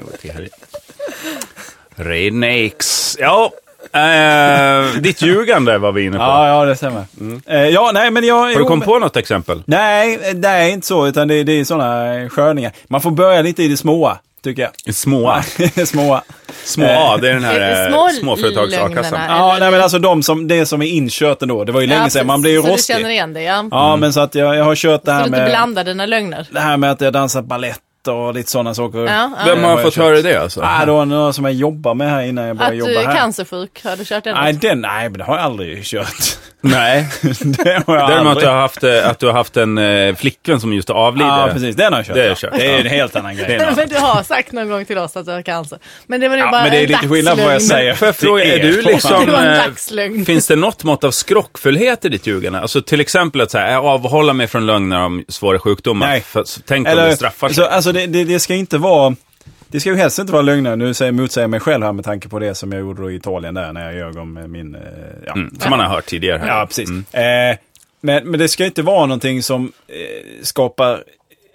Speaker 4: Renix. Ja, eh, ditt ljugande var vi inne på.
Speaker 1: Ja, ja, det stämmer. Eh, ja, nej, men jag...
Speaker 4: Mm. Har du kommit på något exempel?
Speaker 1: Nej, eh, nej, inte så, utan det, det är sådana sköningar. Man får börja lite i det småa, tycker jag.
Speaker 4: Småa.
Speaker 1: småa.
Speaker 4: Små A, det är den
Speaker 2: Är
Speaker 4: här eh,
Speaker 2: det
Speaker 4: små
Speaker 2: små
Speaker 4: småföretags-a-kassan.
Speaker 2: lögnerna?
Speaker 1: Ja, nej men alltså de som, det som är inkört ändå. Det var ju länge
Speaker 2: Ja,
Speaker 1: sedan, man blir ju
Speaker 2: så
Speaker 1: rostig.
Speaker 2: du känner igen det, ja.
Speaker 1: Ja,
Speaker 4: Mm.
Speaker 1: men så att jag, jag har kört det
Speaker 2: så
Speaker 1: här
Speaker 2: du inte
Speaker 1: med,
Speaker 2: blandar dina lögner.
Speaker 1: det här med att jag dansat ballett och lite sådana saker.
Speaker 2: Ja, ja.
Speaker 4: Vem
Speaker 1: Eh,
Speaker 4: har
Speaker 1: jag
Speaker 4: fått
Speaker 1: kört.
Speaker 4: höra det alltså?
Speaker 1: Ah, det var några som jag jobbade med här innan jag
Speaker 2: Att
Speaker 1: började
Speaker 2: du är
Speaker 1: jobba här.
Speaker 2: cancersjuk, har du kört den?
Speaker 1: Nej, den, nej, men det har jag aldrig kört.
Speaker 4: Nej.
Speaker 1: det har jag
Speaker 4: Däremot att du,
Speaker 1: aldrig.
Speaker 4: har haft, eh, att du har haft en eh, flickvän som just avlidit.
Speaker 1: Ja, precis. Den har jag kört.
Speaker 4: Det har jag
Speaker 1: ja.
Speaker 4: kört,
Speaker 1: det är
Speaker 4: ja.
Speaker 1: en helt annan grej.
Speaker 2: Men du har sagt någon gång till oss att du har cancer. Men det var ju
Speaker 1: Ja,
Speaker 2: bara
Speaker 1: men det är
Speaker 2: en
Speaker 1: lite skillnad på vad jag
Speaker 2: dagslögn.
Speaker 1: säger.
Speaker 4: Får jag fråga,
Speaker 1: till
Speaker 4: är
Speaker 1: er.
Speaker 4: du liksom...
Speaker 2: Det var en
Speaker 4: eh,
Speaker 2: dagslögn.
Speaker 4: Finns det något mått av skrockfullhet i ditt ljugande? Alltså till exempel att så här, avhålla mig från lögner om svåra sjukdomar.
Speaker 1: Nej.
Speaker 4: För, så, tänk om
Speaker 1: Eller,
Speaker 4: det straffar sig.
Speaker 1: så, alltså det, det, det ska inte vara... Det ska ju helst inte vara lögner. Nu säger, motsäger jag mig själv här med tanke på det som jag gjorde då i Italien där när jag ljög om eh, min... eh, Ja,
Speaker 4: Mm, som man har hört tidigare. Mm. här.
Speaker 1: ja precis. Eh, men, men det ska inte vara någonting som eh, skapar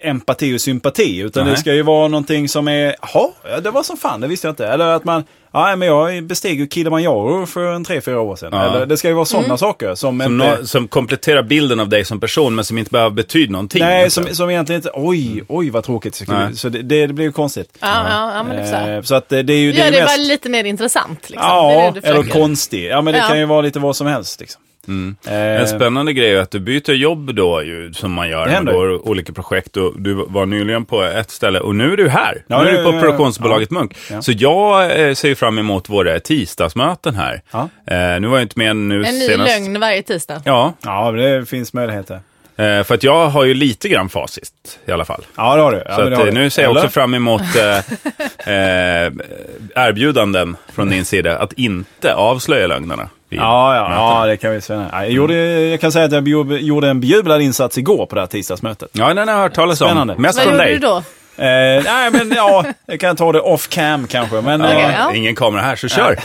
Speaker 1: empati och sympati. Utan
Speaker 4: Nej.
Speaker 1: det ska ju vara någonting som är, "Jaha, ja det var som fan, det visste jag inte. Eller att man, ja men jag besteg ju Kilimanjaro för en tre, fyra år sedan.
Speaker 4: Ja.
Speaker 1: Eller, det ska ju vara
Speaker 2: Mm.
Speaker 1: sådana saker som,
Speaker 4: Som,
Speaker 1: inte...
Speaker 4: nå- som kompletterar bilden av dig som person, men som inte behöver betyda någonting.
Speaker 1: Nej,
Speaker 4: Alltså.
Speaker 1: som, som egentligen inte, oj, oj vad tråkigt. Så,
Speaker 4: Mm. Nej.
Speaker 1: så det, det, det blir ju konstigt.
Speaker 2: Ja, ja, ja, men det förstår jag.
Speaker 1: Eh, så att det, det är ju
Speaker 2: Gör
Speaker 1: det
Speaker 2: det
Speaker 1: är ju
Speaker 2: bara
Speaker 1: mest...
Speaker 2: lite mer intressant. Liksom. det är
Speaker 1: Ja,
Speaker 2: det du
Speaker 1: eller
Speaker 2: försöker.
Speaker 1: konstig. Ja, men det
Speaker 2: Ja.
Speaker 1: kan ju vara lite vad som helst. Liksom.
Speaker 4: Mm.
Speaker 1: Eh,
Speaker 4: En spännande grej är att du byter jobb då, ju, som man gör
Speaker 1: Det
Speaker 4: när man
Speaker 1: händer.
Speaker 4: går olika projekt. Och du var nyligen på ett ställe och nu är du här.
Speaker 1: Ja,
Speaker 4: nu är
Speaker 1: ja,
Speaker 4: du på
Speaker 1: ja, ja.
Speaker 4: produktionsbolaget Munk.
Speaker 1: Ja.
Speaker 4: Så jag eh, ser ju fram emot våra tisdagsmöten här.
Speaker 1: Ja.
Speaker 4: Eh, nu var jag inte med nu
Speaker 2: En ny
Speaker 4: senast.
Speaker 2: lögn varje tisdag.
Speaker 4: Ja,
Speaker 1: ja, men det finns möjligheter.
Speaker 4: eh, för att jag har ju lite grann facit i alla fall.
Speaker 1: Ja, det har du. Ja,
Speaker 4: Så
Speaker 1: men det
Speaker 4: att,
Speaker 1: har
Speaker 4: eh,
Speaker 1: du.
Speaker 4: nu ser jag
Speaker 1: Eller?
Speaker 4: också fram emot eh, eh, erbjudanden från din sida att inte avslöja lögnerna. vid
Speaker 1: Ja, ja,
Speaker 4: mötena.
Speaker 1: ja, det kan vi säga. Ja, Jag, gjorde, jag kan säga att jag bjub- gjorde en bejublad insats igår på det här tisdagsmötet.
Speaker 4: Ja, den har jag hört talas om.
Speaker 1: Spännande.
Speaker 4: Mest
Speaker 2: Vad
Speaker 4: från
Speaker 2: gjorde
Speaker 4: dig.
Speaker 2: du då?
Speaker 1: Eh, nej, men ja, jag kan ta det off cam kanske. Men,
Speaker 4: Ja,
Speaker 1: eh,
Speaker 2: Okej, ja.
Speaker 4: Ingen kamera här, så kör.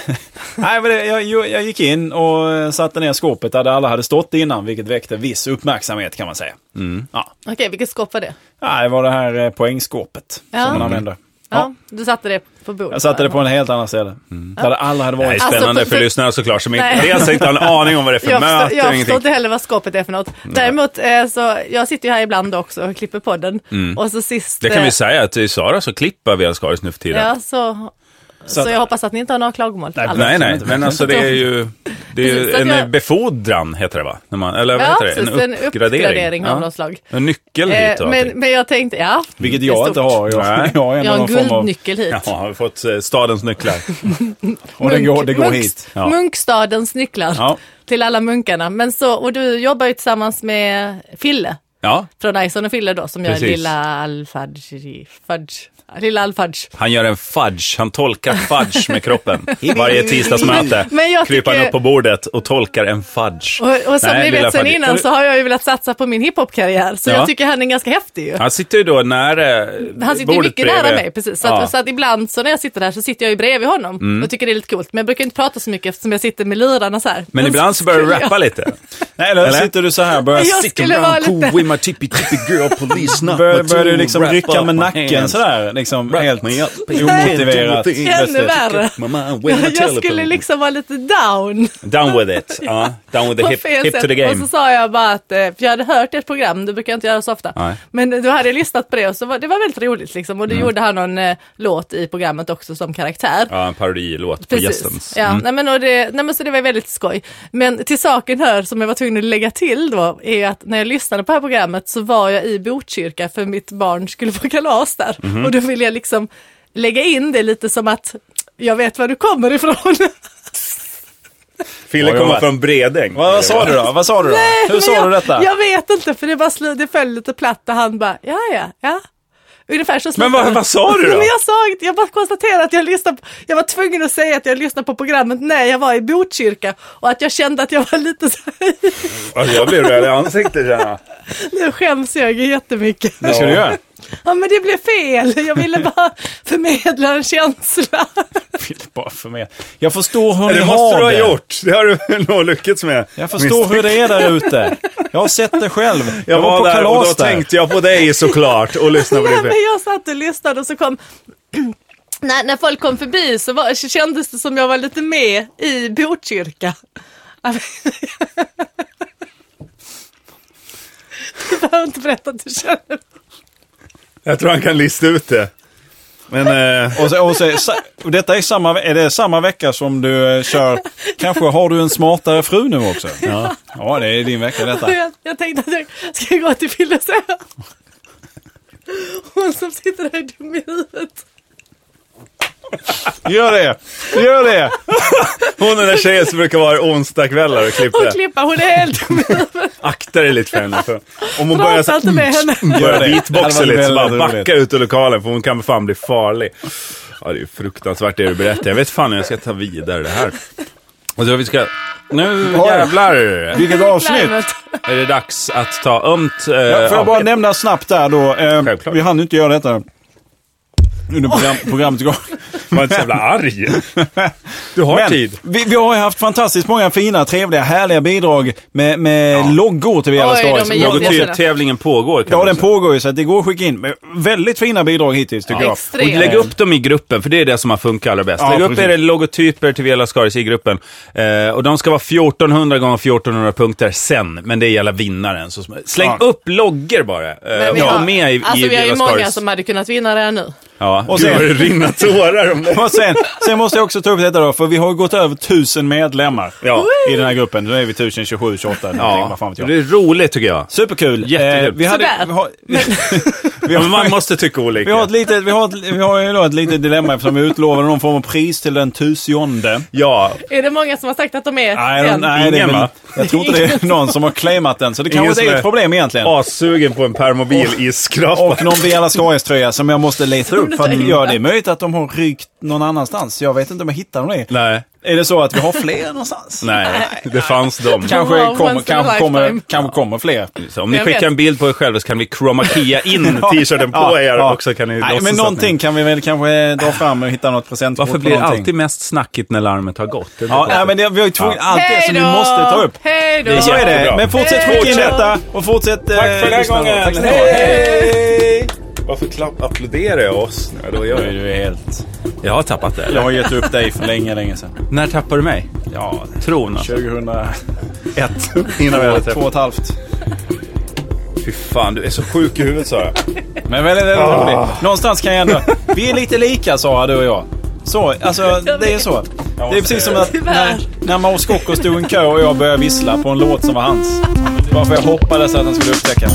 Speaker 1: Nej, men det, jag, jag jag gick in och eh, satte ner skåpet där alla hade stått innan, vilket väckte viss uppmärksamhet kan man säga.
Speaker 4: Mm.
Speaker 1: Ja.
Speaker 2: Okej, vilket skåp var det?
Speaker 1: Ja, det var det här eh, poängskåpet
Speaker 2: Ja. Mm.
Speaker 1: som man använder.
Speaker 2: Ja,
Speaker 1: Ja.
Speaker 2: Du satte det på bordet?
Speaker 1: Jag satte det på
Speaker 2: va?
Speaker 1: en helt annan ställe. Där alla hade
Speaker 4: Mm. Det är
Speaker 1: varit.
Speaker 2: Alltså,
Speaker 4: spännande
Speaker 2: på-
Speaker 4: för
Speaker 2: på-
Speaker 4: lyssnare såklart, som inte,
Speaker 2: Nej.
Speaker 4: dels inte har en aning om vad det är för
Speaker 2: jag
Speaker 4: möte.
Speaker 2: förstår, jag
Speaker 4: och
Speaker 2: förstår
Speaker 4: ingenting.
Speaker 2: inte heller vad skåpet är för något. Däremot, eh, så, jag sitter ju här ibland också och klipper podden.
Speaker 1: Mm.
Speaker 2: Och så sist...
Speaker 4: Det kan vi
Speaker 2: eh,
Speaker 4: säga, att i Sara så klipper vi Ascaris nu för tiden.
Speaker 2: Ja, så, så,
Speaker 1: att-
Speaker 2: jag hoppas att ni inte har några klagomål.
Speaker 1: Nej,
Speaker 2: alls.
Speaker 4: Nej, nej, men alltså det är ju, det är ju
Speaker 2: Precis, så
Speaker 4: en
Speaker 2: att jag-
Speaker 4: befordran, heter det va? När man, eller vad
Speaker 2: Ja,
Speaker 4: heter det?
Speaker 2: precis, en uppgradering av
Speaker 4: Ja.
Speaker 2: något slag.
Speaker 4: En nyckel hit
Speaker 2: Eh,
Speaker 4: och
Speaker 2: men,
Speaker 4: allting.
Speaker 2: men jag tänkte, ja.
Speaker 1: Vilket
Speaker 2: det är
Speaker 1: jag
Speaker 2: stort.
Speaker 1: inte har. Jag,
Speaker 4: Nej.
Speaker 1: jag har en,
Speaker 2: Jag har en
Speaker 1: någon form av...
Speaker 2: guldnyckel hit.
Speaker 4: Jaha, har vi fått eh, stadens nycklar?
Speaker 1: Och den går, det går
Speaker 2: Munks-
Speaker 1: hit.
Speaker 4: Ja.
Speaker 2: Munkstadens nycklar
Speaker 1: Ja.
Speaker 2: till alla munkarna. Men så, och du jobbar ju tillsammans med Fille
Speaker 4: Ja,
Speaker 2: från Ison och Fille då som gör
Speaker 4: Precis.
Speaker 2: Lilla Alfadge. Fudge. Lilla Alfadge.
Speaker 4: han gör en fudge, han tolkar fudge med kroppen. Varje tisdagsmöte
Speaker 2: Men jag
Speaker 4: kryper han
Speaker 2: tycker-
Speaker 4: upp på bordet och tolkar en fudge.
Speaker 2: Och, och som
Speaker 4: Nej,
Speaker 2: ni
Speaker 4: lilla
Speaker 2: vet sen
Speaker 4: fudge.
Speaker 2: innan så har jag ju velat satsa på min hiphop-karriär så
Speaker 4: Ja.
Speaker 2: jag tycker han är ganska häftig ju.
Speaker 4: Han sitter ju då nära eh,
Speaker 2: Han sitter ju
Speaker 4: bordet
Speaker 2: mycket nära
Speaker 4: bredvid.
Speaker 2: mig, precis. Så, att,
Speaker 4: Ja. Mm.
Speaker 2: så att ibland så när jag sitter där så sitter jag ju bredvid honom och tycker det är lite coolt. Men jag brukar inte prata så mycket eftersom jag sitter med lirarna så här.
Speaker 4: Men ibland så börjar du
Speaker 2: skulle jag-
Speaker 4: rappa lite.
Speaker 1: Nej, eller,
Speaker 4: Eller?
Speaker 1: sitter du så här och börjar,
Speaker 2: Jag
Speaker 1: sick-
Speaker 2: skulle vara lite...
Speaker 4: with my tippy tippy girl police
Speaker 1: börjar, börjar du liksom rycka med liksom nacken sådär? liksom
Speaker 4: Right.
Speaker 1: helt
Speaker 4: Me up.
Speaker 1: omotiverat.
Speaker 4: Ännu
Speaker 1: Plötsligt.
Speaker 2: värre.
Speaker 4: Mamma, when I
Speaker 2: Jag
Speaker 4: tell
Speaker 2: skulle
Speaker 4: them.
Speaker 2: liksom vara lite down.
Speaker 4: Down with it. Ja, down with the
Speaker 2: på
Speaker 4: hip,
Speaker 2: fel
Speaker 4: hip
Speaker 2: sätt.
Speaker 4: to the
Speaker 2: Och så
Speaker 4: game.
Speaker 2: sa jag bara att, eh, för jag hade hört ert program, det brukar jag inte göra så ofta.
Speaker 4: Nej. Mm.
Speaker 2: Men då hade jag lyssnat på det och så var, det var väldigt roligt liksom. Och då gjorde han någon eh, låt i programmet också som karaktär.
Speaker 4: Ja, en parodilåt på gästens.
Speaker 2: Ja, nej, men, och det, nej, men så det var väldigt skoj. Men till saken hör, som jag var tvungen att lägga till då, är ju att när jag lyssnade på det här programmet så var jag i Botkyrka för mitt barn skulle på kalas där.
Speaker 4: Mhm.
Speaker 2: Och då ville jag liksom lägga in det lite som att jag vet var du kommer ifrån.
Speaker 4: Fille
Speaker 1: Oj,
Speaker 4: kommer
Speaker 1: vad-
Speaker 4: från Bredäng.
Speaker 1: Vad, vad sa du då? Vad sa du då? Hur
Speaker 2: Men
Speaker 1: sa
Speaker 2: jag,
Speaker 1: du detta?
Speaker 2: Jag vet inte, för det, bara slu, det föll lite platt och han bara, ja, ja, ja. Ungefär så
Speaker 4: Men vad,
Speaker 2: slutade det.
Speaker 4: vad sa du då?
Speaker 2: Men jag sa inte- jag bara konstaterade att jag lyssnade på, jag var tvungen att säga att jag lyssnade på programmet när jag var i Botkyrka och att jag kände att jag var lite så här,
Speaker 4: Alltså, jag blir röd i ansiktet känner jag.
Speaker 2: nu skäms jag ju jättemycket.
Speaker 1: Vad ska du
Speaker 4: Ja.
Speaker 1: göra?
Speaker 2: Ja men det blev fel, jag ville bara förmedla en känsla.
Speaker 1: Vill bara för mig. Jag förstår hur ni
Speaker 4: Det måste
Speaker 1: har
Speaker 4: du ha
Speaker 1: det.
Speaker 4: gjort. Det har du nog lyckats med.
Speaker 1: Jag förstår hur det är där ute. Jag har sett det själv. Jag,
Speaker 4: Jag
Speaker 1: var,
Speaker 4: var
Speaker 1: på
Speaker 4: där och
Speaker 1: kalas
Speaker 4: då
Speaker 1: där.
Speaker 4: tänkte jag på dig såklart och lyssnade på
Speaker 2: Nej,
Speaker 4: det.
Speaker 2: men jag satt och lyssnade och så kom när, när folk kom förbi så var, så kändes det som jag var lite med i Botkyrka. Du behöver inte berätta att du känner.
Speaker 4: Jag tror han kan lista ut det. Men eh,
Speaker 1: Och, så, och, så, sa- och detta är samma, är det samma vecka som du eh, kör, kanske har du en smartare fru nu också? Ja, ja det är din vecka detta.
Speaker 2: Jag, jag tänkte att jag ska gå till Fille och säga. Hon som sitter där är dum i huvudet.
Speaker 1: Gör det! Gör det!
Speaker 4: hon är den där tjejen som brukar vara onsdagskvällar och
Speaker 2: Hon
Speaker 4: klippa.
Speaker 2: klippa, hon är helt dum i huvudet.
Speaker 4: Akta dig lite för henne. För om hon börjar, så, Mm,
Speaker 2: Prata inte med henne.
Speaker 1: Gör
Speaker 4: börjar
Speaker 1: det. Det hade
Speaker 4: beatboxa
Speaker 1: varit
Speaker 4: lite så bara
Speaker 1: väldigt roligt.
Speaker 4: backa ut ur lokalen för hon kan fan bli farlig. Ja, det är ju fruktansvärt det du berättar. Jag vet fan hur jag ska ta vidare det här. Och så vi ska... Nu
Speaker 1: Oj.
Speaker 4: jävlar
Speaker 1: Vilket avsnitt!
Speaker 2: Larmet.
Speaker 4: är det dags att ta ömt... Eh,
Speaker 1: Ja, får jag bara
Speaker 4: ja.
Speaker 1: nämna snabbt där då, eh,
Speaker 4: Självklart.
Speaker 1: vi hann ju inte göra detta under program, programmet igår.
Speaker 4: Var inte så jävla arg. Du har tid.
Speaker 1: Vi, vi har ju haft fantastiskt många fina, trevliga, härliga bidrag med, med loggor till Viala
Speaker 2: Oj, de är
Speaker 1: Stars.
Speaker 2: jobbiga.
Speaker 1: Logotyp.
Speaker 4: typ Tävlingen pågår. Kan
Speaker 1: Ja,
Speaker 4: man
Speaker 1: den
Speaker 4: säga.
Speaker 1: pågår ju, så att det går att skicka in. Men Väldigt fina bidrag hittills, tycker jag.
Speaker 2: Extremt.
Speaker 4: Och lägg upp dem i gruppen, för det är det som har funkat allra bäst.
Speaker 1: Ja,
Speaker 4: lägg upp
Speaker 1: precis.
Speaker 4: era logotyper till Vela Skaris i gruppen. Eh, och de ska vara 1400 gånger 1400 punkter sen, men det gäller vinnaren. Så sm- släng
Speaker 1: Ja.
Speaker 4: upp loggor bara. Eh,
Speaker 2: Men
Speaker 4: och
Speaker 2: vi
Speaker 4: var
Speaker 2: har-
Speaker 4: med i,
Speaker 2: alltså,
Speaker 4: i
Speaker 2: vi har ju
Speaker 4: Vela
Speaker 2: många
Speaker 4: Skaris.
Speaker 2: som hade kunnat vinna det här nu.
Speaker 4: Ja.
Speaker 1: Och
Speaker 4: Och
Speaker 1: sen-
Speaker 4: sen... Gud, vad det rinner tårar om det.
Speaker 1: Och sen, sen måste jag också ta upp detta då, för vi har ju gått över tusen medlemmar
Speaker 4: Ja.
Speaker 1: i den här gruppen. Nu är vi 1027, 28, ja. vad fan
Speaker 4: Ja,
Speaker 1: vet
Speaker 4: det
Speaker 1: jag.
Speaker 4: är roligt tycker jag.
Speaker 1: Superkul. Eh,
Speaker 4: Jättekul.
Speaker 1: vi, hade,
Speaker 2: Sådär.
Speaker 1: vi, har, vi,
Speaker 4: Ja, men man måste tycka olika.
Speaker 1: vi har ett litet, vi har ett, vi har ju då ett litet dilemma eftersom vi utlovade någon form av pris till den tusionde.
Speaker 4: Ja,
Speaker 2: Är det många som har sagt att de är
Speaker 1: Nej, de-
Speaker 2: en?
Speaker 1: nej det är
Speaker 4: Ingen,
Speaker 1: väl,
Speaker 4: va?
Speaker 1: jag tror inte det är någon som har claimat den, så det
Speaker 4: Ingen
Speaker 1: kanske
Speaker 4: som
Speaker 1: inte är
Speaker 4: är-
Speaker 1: ett problem egentligen.
Speaker 4: assugen på en permobil i skrapa.
Speaker 1: Och någon Viala Skaris-tröja som jag måste leta upp. För
Speaker 4: Mm.
Speaker 1: att, ja, det är möjligt att de har rykt någon annanstans. Jag vet inte om jag hittar dem. i.
Speaker 4: Nej.
Speaker 1: Är det så att vi har fler någonstans?
Speaker 4: Nej, det fanns dem.
Speaker 1: Kanske
Speaker 2: Wow,
Speaker 1: kommer,
Speaker 2: once in a
Speaker 1: kanske, kommer,
Speaker 2: lifetime.
Speaker 1: kanske kommer fler.
Speaker 4: Så om ni
Speaker 2: Jag
Speaker 4: skickar
Speaker 2: vet.
Speaker 4: en bild på er själva så kan vi chroma keya in Mm, t-shirten på
Speaker 1: Ja,
Speaker 4: er
Speaker 1: ja.
Speaker 4: också. Kan ni
Speaker 1: Nej,
Speaker 4: låtsas
Speaker 1: men
Speaker 4: att
Speaker 1: någonting
Speaker 4: Ni...
Speaker 1: kan vi väl kanske dra fram och hitta något presentkort
Speaker 4: Varför
Speaker 1: på
Speaker 4: blir det
Speaker 1: någonting.
Speaker 4: alltid mest snackigt när larmet har gått? Det är
Speaker 1: Ja,
Speaker 4: lite
Speaker 1: nej, men det, vi har ju tvungna, allt det som vi måste ta upp.
Speaker 2: Hej då!
Speaker 1: Så är det.
Speaker 4: jättebra.
Speaker 1: Men fortsätt skicka in
Speaker 2: Hej då!
Speaker 1: detta och fortsätt... Tack
Speaker 4: för den här gången.
Speaker 1: Tack snälla.
Speaker 4: Hej! Varför klapp, applåderar jag oss? Ja, då gör
Speaker 1: Du
Speaker 4: jag. det.
Speaker 1: är helt...
Speaker 4: jag har tappat det.
Speaker 1: Jag
Speaker 4: Eller?
Speaker 1: har gett upp dig för länge, länge sedan.
Speaker 4: När tappar du mig?
Speaker 1: Ja,
Speaker 4: Tron alltså.
Speaker 1: 2001.
Speaker 4: Innan vi hade
Speaker 1: Två
Speaker 4: träffat.
Speaker 1: och ett halvt.
Speaker 4: Fy fan, du är så sjuk i huvudet Sara.
Speaker 1: Men väldigt, väldigt
Speaker 4: Ah.
Speaker 1: roligt. Någonstans kan jag ändå... Vi är lite lika Sara, du och jag. Så, alltså det är så. Det är precis som att när, när Mauro Scocco stod i en kö och jag började vissla på en låt som var hans. Bara för jag hoppades att han skulle upptäcka.